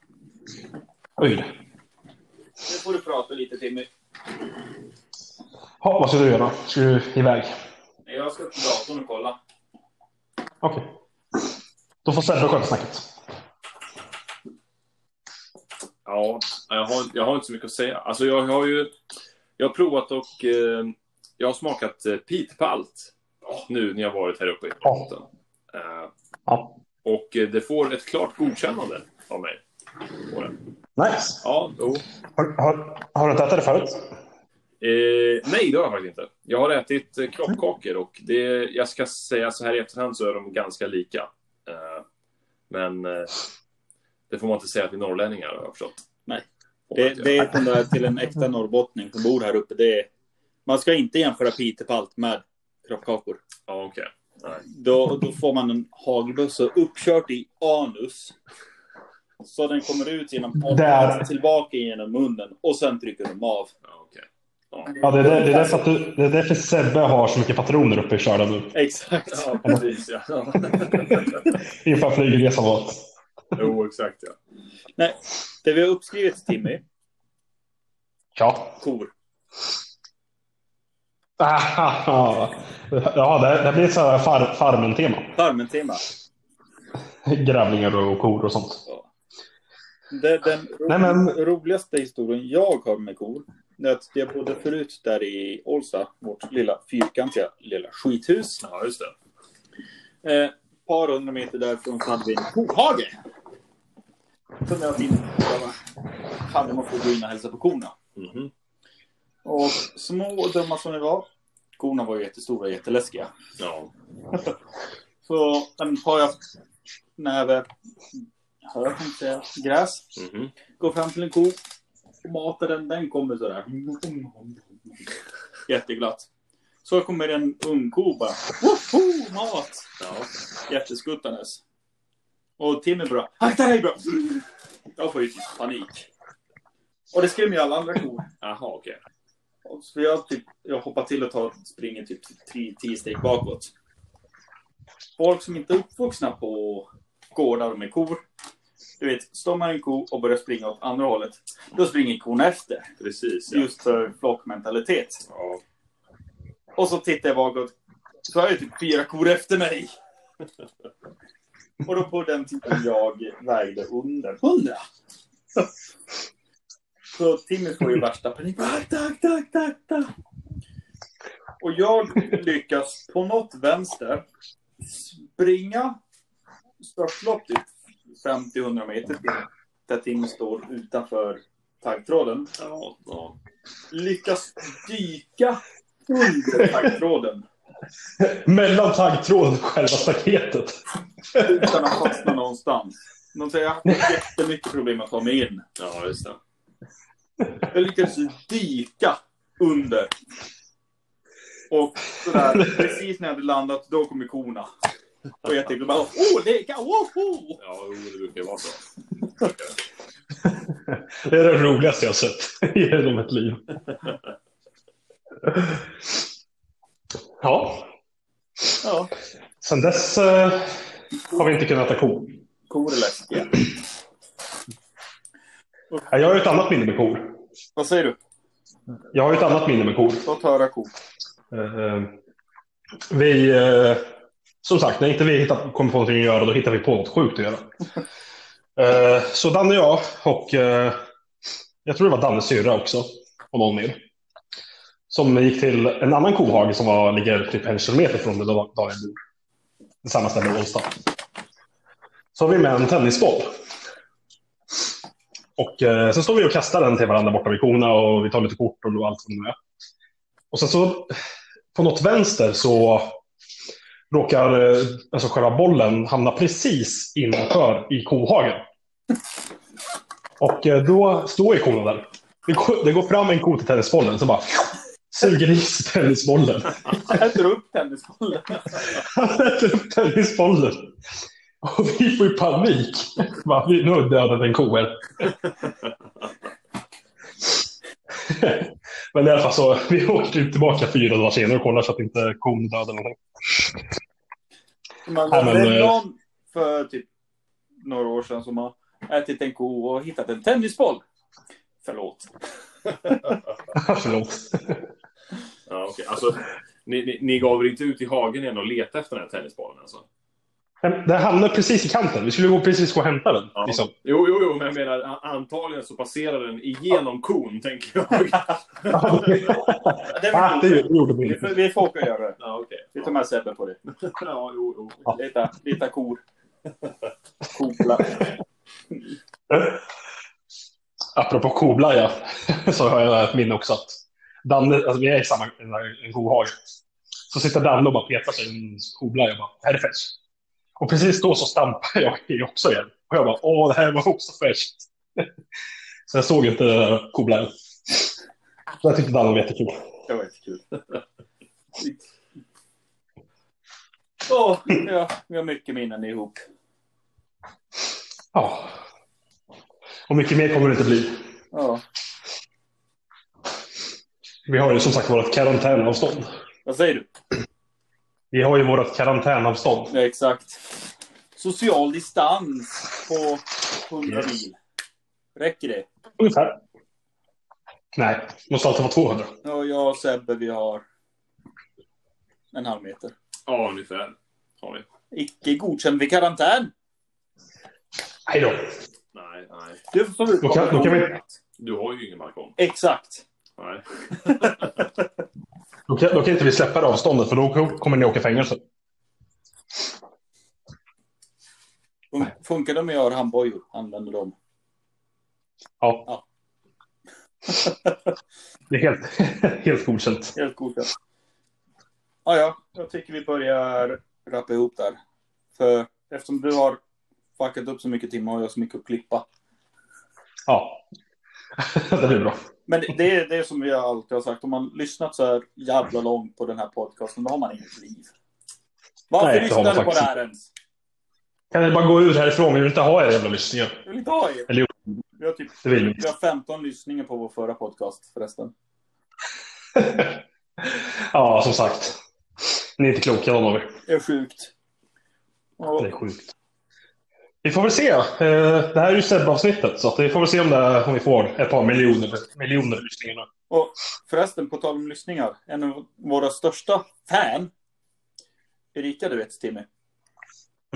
Speaker 1: Oj.
Speaker 2: Nu får du prata lite Timmy.
Speaker 1: Ha, vad ska du göra? Ska du iväg?
Speaker 2: Jag ska till datorn och kolla.
Speaker 1: Okej. Då får Sebbe sköta snacket.
Speaker 3: Ja, Ja, jag har, jag har inte så mycket att säga. Alltså jag, har ju... Jag har provat och... Eh, jag har smakat eh, pitpalt nu när jag varit här uppe i botten. Eh,
Speaker 1: Ja.
Speaker 3: och eh, det får ett klart godkännande av mig. Får det.
Speaker 1: Nice.
Speaker 3: Ja, jo.
Speaker 1: Har, har, har du inte ätit det förut?
Speaker 3: Eh, nej, det har jag faktiskt inte. Jag har ätit eh, kroppkakor och det, jag ska säga så här i efterhand så är de ganska lika. Eh, men eh, det får man inte säga till norrlänningar har jag förstått.
Speaker 2: Nej. Det, det är den där till en äkta norrbottning som bor här uppe. Det är, man ska inte jämföra pitepalt med kroppkakor.
Speaker 3: Ja, okej. Nej.
Speaker 2: Då, då får man en hagelbössa uppkört i anus. Så den kommer ut genom
Speaker 1: Där.
Speaker 2: porten, tillbaka genom munnen och sen trycker de av.
Speaker 3: Ja, okej. Ja.
Speaker 1: Ja, det, är det, det, är därför att du, det är därför Sebbe har så mycket patroner uppe i körda nu.
Speaker 2: Exakt.
Speaker 3: ja, precis. Ja.
Speaker 1: Inför flygresan var.
Speaker 3: jo, exakt. Ja.
Speaker 2: Nej, det vi har uppskrivit till Timmy,
Speaker 1: Ja.
Speaker 2: kor.
Speaker 1: Aha. Ah, Ja, det, det blir ett sånt här far, farmen-tema.
Speaker 2: Farmen-tema.
Speaker 1: Grävlingar och kor och sånt.
Speaker 2: Det, den ro-
Speaker 1: Nej, men-
Speaker 2: roligaste historien jag har med kor, det är att jag bodde förut där i Olsa, vårt lilla fyrkantiga lilla skithus.
Speaker 3: ja, just det.
Speaker 2: Eh, par hundra meter därifrån så hade vi en kohage. Som jag alltid hade man fått gå in och hälsa på korna.
Speaker 3: Mhm.
Speaker 2: Och små och dumma som de var, korna var ju jättestora och jätteläskiga.
Speaker 3: Ja.
Speaker 2: Så en par jag näve, hör tänkte jag säga, gräs.
Speaker 3: Mhm.
Speaker 2: Går fram till en ko, matar den, den kommer sådär. Jätteglatt. Så kommer en ung ko bara, woho, mat!
Speaker 3: ja.
Speaker 2: jätteskuttandes. Och Timmy bara ”Akta dig bra!” Jag får ju typ panik. Och det skrämmer ju alla andra kor.
Speaker 3: Aha, okej.
Speaker 2: Och Så jag, typ, jag hoppar till och tar, springer typ tre- tio steg bakåt. Folk som inte är uppvuxna på gårdar med kor. Du vet, står man en ko och börjar springa åt andra hållet, då springer kon efter.
Speaker 3: Precis. Ja.
Speaker 2: Just för flockmentalitet.
Speaker 3: Ja.
Speaker 2: Och så tittar jag bakåt. Så har jag typ fyra kor efter mig. Och då på den tiden jag vägde under 100. Så Timmy får ju värsta panik. Akta, akta, akta, akta. Och jag lyckas på något vänster springa störtlopp typ 50-100 meter till där Timmy står utanför taggtråden
Speaker 3: Ja. Ja.
Speaker 2: lyckas dyka under taggtråden
Speaker 1: Mellan taggtråden och själva staketet.
Speaker 2: utan att fastna någonstans. De säger att jag har haft jättemycket problem att ta mig in.
Speaker 3: ja, just det.
Speaker 2: Jag lyckades dyka under. Och sådär, precis när jag hade landat, då kommer korna. Och jag tänkte bara åh, leka, woho!
Speaker 3: Ja, jo, det brukar ju vara så.
Speaker 1: Det är det roligaste jag har sett genom mitt liv. Ja,
Speaker 2: Ja,
Speaker 1: sen dess eh, har vi inte kunnat äta kor.
Speaker 2: kor är läskiga.
Speaker 1: Ja, Jag har ju ett annat minne med kor.
Speaker 2: Vad säger du?
Speaker 1: Jag har ju ett annat minne med kor.
Speaker 2: Låt höra ko.
Speaker 1: Eh, Vi, eh, som sagt, när inte vi hittar, kommer på någonting att göra, då hittar vi på något sjukt att göra. Eh, Så Danne och jag och eh, jag tror det var Dannes syrra också och någon mer. Som gick till en annan kohage som var, ligger typ en kilometer från där Daniel bor. Det samma ställe i Ålsta. Så har vi med en tennisboll. Och eh, sen står vi och kastar den till varandra borta vid korna och vi tar lite kort och allt vad det nu är. Och sen så på något vänster så råkar eh, alltså själva bollen hamna precis innanför i kohagen. Och eh, då står ju korna där. Det går, det går fram en ko till tennisbollen så bara suger i sig tennisbollen.
Speaker 2: Jag drar upp tennisbollen.
Speaker 1: Han äter upp tennisbollen. Och vi får ju panik. Bara, vi- Nu har vi dödat en ko här. Men i alla fall så, vi åkte ju tillbaka fyra dagar senare och kollade så att inte kon dödade någonting.
Speaker 2: Man,
Speaker 1: Ja, men,
Speaker 2: det är
Speaker 1: eh,
Speaker 2: någon för typ några år sedan som har ätit en ko och hittat en tennisboll. Förlåt.
Speaker 1: Förlåt.
Speaker 3: Ja, okej. Alltså, ni, ni, ni gav er inte ut i hagen igen och letade efter den här tennisbollen alltså?
Speaker 1: Men Den hamnade precis i kanten. Vi skulle gå precis gå och hämta den.
Speaker 3: Ja.
Speaker 1: Liksom.
Speaker 3: Jo, jo, jo, men jag menar a- antagligen så passerar den igenom kon, tänker jag.
Speaker 2: Det
Speaker 1: ah,
Speaker 2: var
Speaker 1: det gjorde vi
Speaker 2: vi,
Speaker 1: inte.
Speaker 2: får, vi får åka och göra det.
Speaker 3: ja, okej.
Speaker 2: Vi tar med Sebbe på det.
Speaker 3: Ja, jo, jo.
Speaker 2: Leta, leta kor. Kopla.
Speaker 1: Apropå koblaja så har jag ett minne också att Danne, alltså vi är i samma en kohage. Så sitter Danne och bara petar sig i en koblaja och bara, här är färskt. Och precis då så stampar jag i också igen. Och jag bara, åh, det här var också färskt. Så jag såg inte den där koblajan. Så jag tyckte Danne var jättekul.
Speaker 2: Det var jättekul. Åh, ja, vi har mycket minnen ihop.
Speaker 1: Ja. Och mycket mer kommer det inte bli.
Speaker 2: Ja.
Speaker 1: Vi har ju som sagt vårt karantänavstånd.
Speaker 2: Vad säger du?
Speaker 1: Vi har ju vårt karantänavstånd.
Speaker 2: Ja, exakt. Social distans på 100
Speaker 1: Yes.
Speaker 2: mil. Räcker det?
Speaker 1: Ungefär. Nej, måste alltid vara 200.
Speaker 2: Ja, jag och Sebbe, vi har en halv meter.
Speaker 3: Ja, ungefär. Har vi.
Speaker 2: Icke godkänd vid karantän.
Speaker 1: Nej då.
Speaker 3: Nej, nej.
Speaker 2: Du får ut
Speaker 1: Då kan- då kan vi-
Speaker 3: Du har ju ingen balkong.
Speaker 2: Exakt.
Speaker 3: Nej.
Speaker 1: Då kan, då kan inte vi släppa det avståndet för då kommer ni åka i fängelse.
Speaker 2: Fun- Funkar det om jag har handbojor? Använder dem.
Speaker 1: Ja.
Speaker 2: Ja.
Speaker 1: Det är helt, helt godkänt.
Speaker 2: Helt godkänt. Ja, ja. Jag tycker vi börjar rappa ihop där. För eftersom du har fuckat upp så mycket timmar har jag så mycket att klippa.
Speaker 1: Ja. Det blir bra.
Speaker 2: Men det- det är det som vi alltid har sagt. Om man lyssnat så här jävla långt på den här podcasten, då har man inget liv. Varför
Speaker 1: Nej, det har
Speaker 2: lyssnar
Speaker 1: man
Speaker 2: du på det
Speaker 1: faktiskt
Speaker 2: här ens?
Speaker 1: Kan ni bara gå ut härifrån? Vi vill inte ha er jävla lyssningar.
Speaker 2: Jag vill inte ha er.
Speaker 1: Eller jo.
Speaker 2: Vi har typ
Speaker 1: Det vill vi inte.
Speaker 2: vi har 15 lyssningar på vår förra podcast förresten.
Speaker 1: Ja, som sagt. Ni är inte kloka någon av er.
Speaker 2: Det är sjukt. Och,
Speaker 1: Det är sjukt. Vi får väl se. Eh, Det här är ju Sebbe-avsnittet, så att vi får väl se om, det, om vi får ett par miljoner, miljoner lyssningar. nu.
Speaker 2: och förresten, på tal om lyssningar. En av våra största fan, Erika du vet Timmy.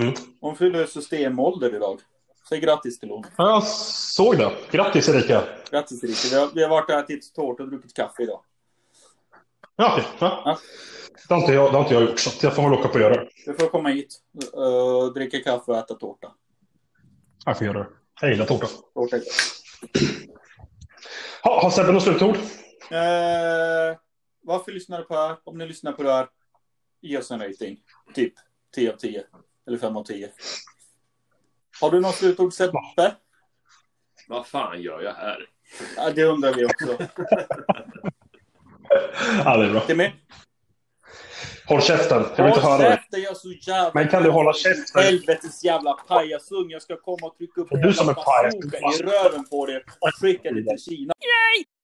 Speaker 1: Mm.
Speaker 2: Hon fyller systemålder idag. Säg grattis till hon.
Speaker 1: Ja, Jag såg det. Grattis Erika!
Speaker 2: Grattis Erika. Vi har, vi har varit där och ätit tårta och druckit kaffe idag.
Speaker 1: Ja, okej.
Speaker 2: Ja.
Speaker 1: Ja. Det, har inte jag, det har inte jag gjort, så att jag får väl åka på och göra det.
Speaker 2: Du får komma hit, eh, dricka kaffe och äta tårta.
Speaker 1: Jag får göra det. Jag gillar tårta.
Speaker 2: Tårta är
Speaker 1: Ha, har Sebbe något slutord?
Speaker 2: Eh, varför lyssnar du på det här? Om ni lyssnar på det här, ge oss en rating. Typ 10 av 10. Eller 5 av 10. Har du något slutord Sebbe?
Speaker 3: Vad fan gör jag här?
Speaker 2: Ja, det undrar vi också.
Speaker 1: Ja, det är bra.
Speaker 2: Timmy?
Speaker 1: Håll käften. Jag vill inte höra dig.
Speaker 2: käften, jag är så jävla...
Speaker 1: Men kan du hålla käften?
Speaker 2: Helvetes jävla pajasung. Jag ska komma och trycka upp
Speaker 1: Du som är
Speaker 2: jävla
Speaker 1: pajas.
Speaker 2: bazooka i röven på dig och skicka dig till Kina.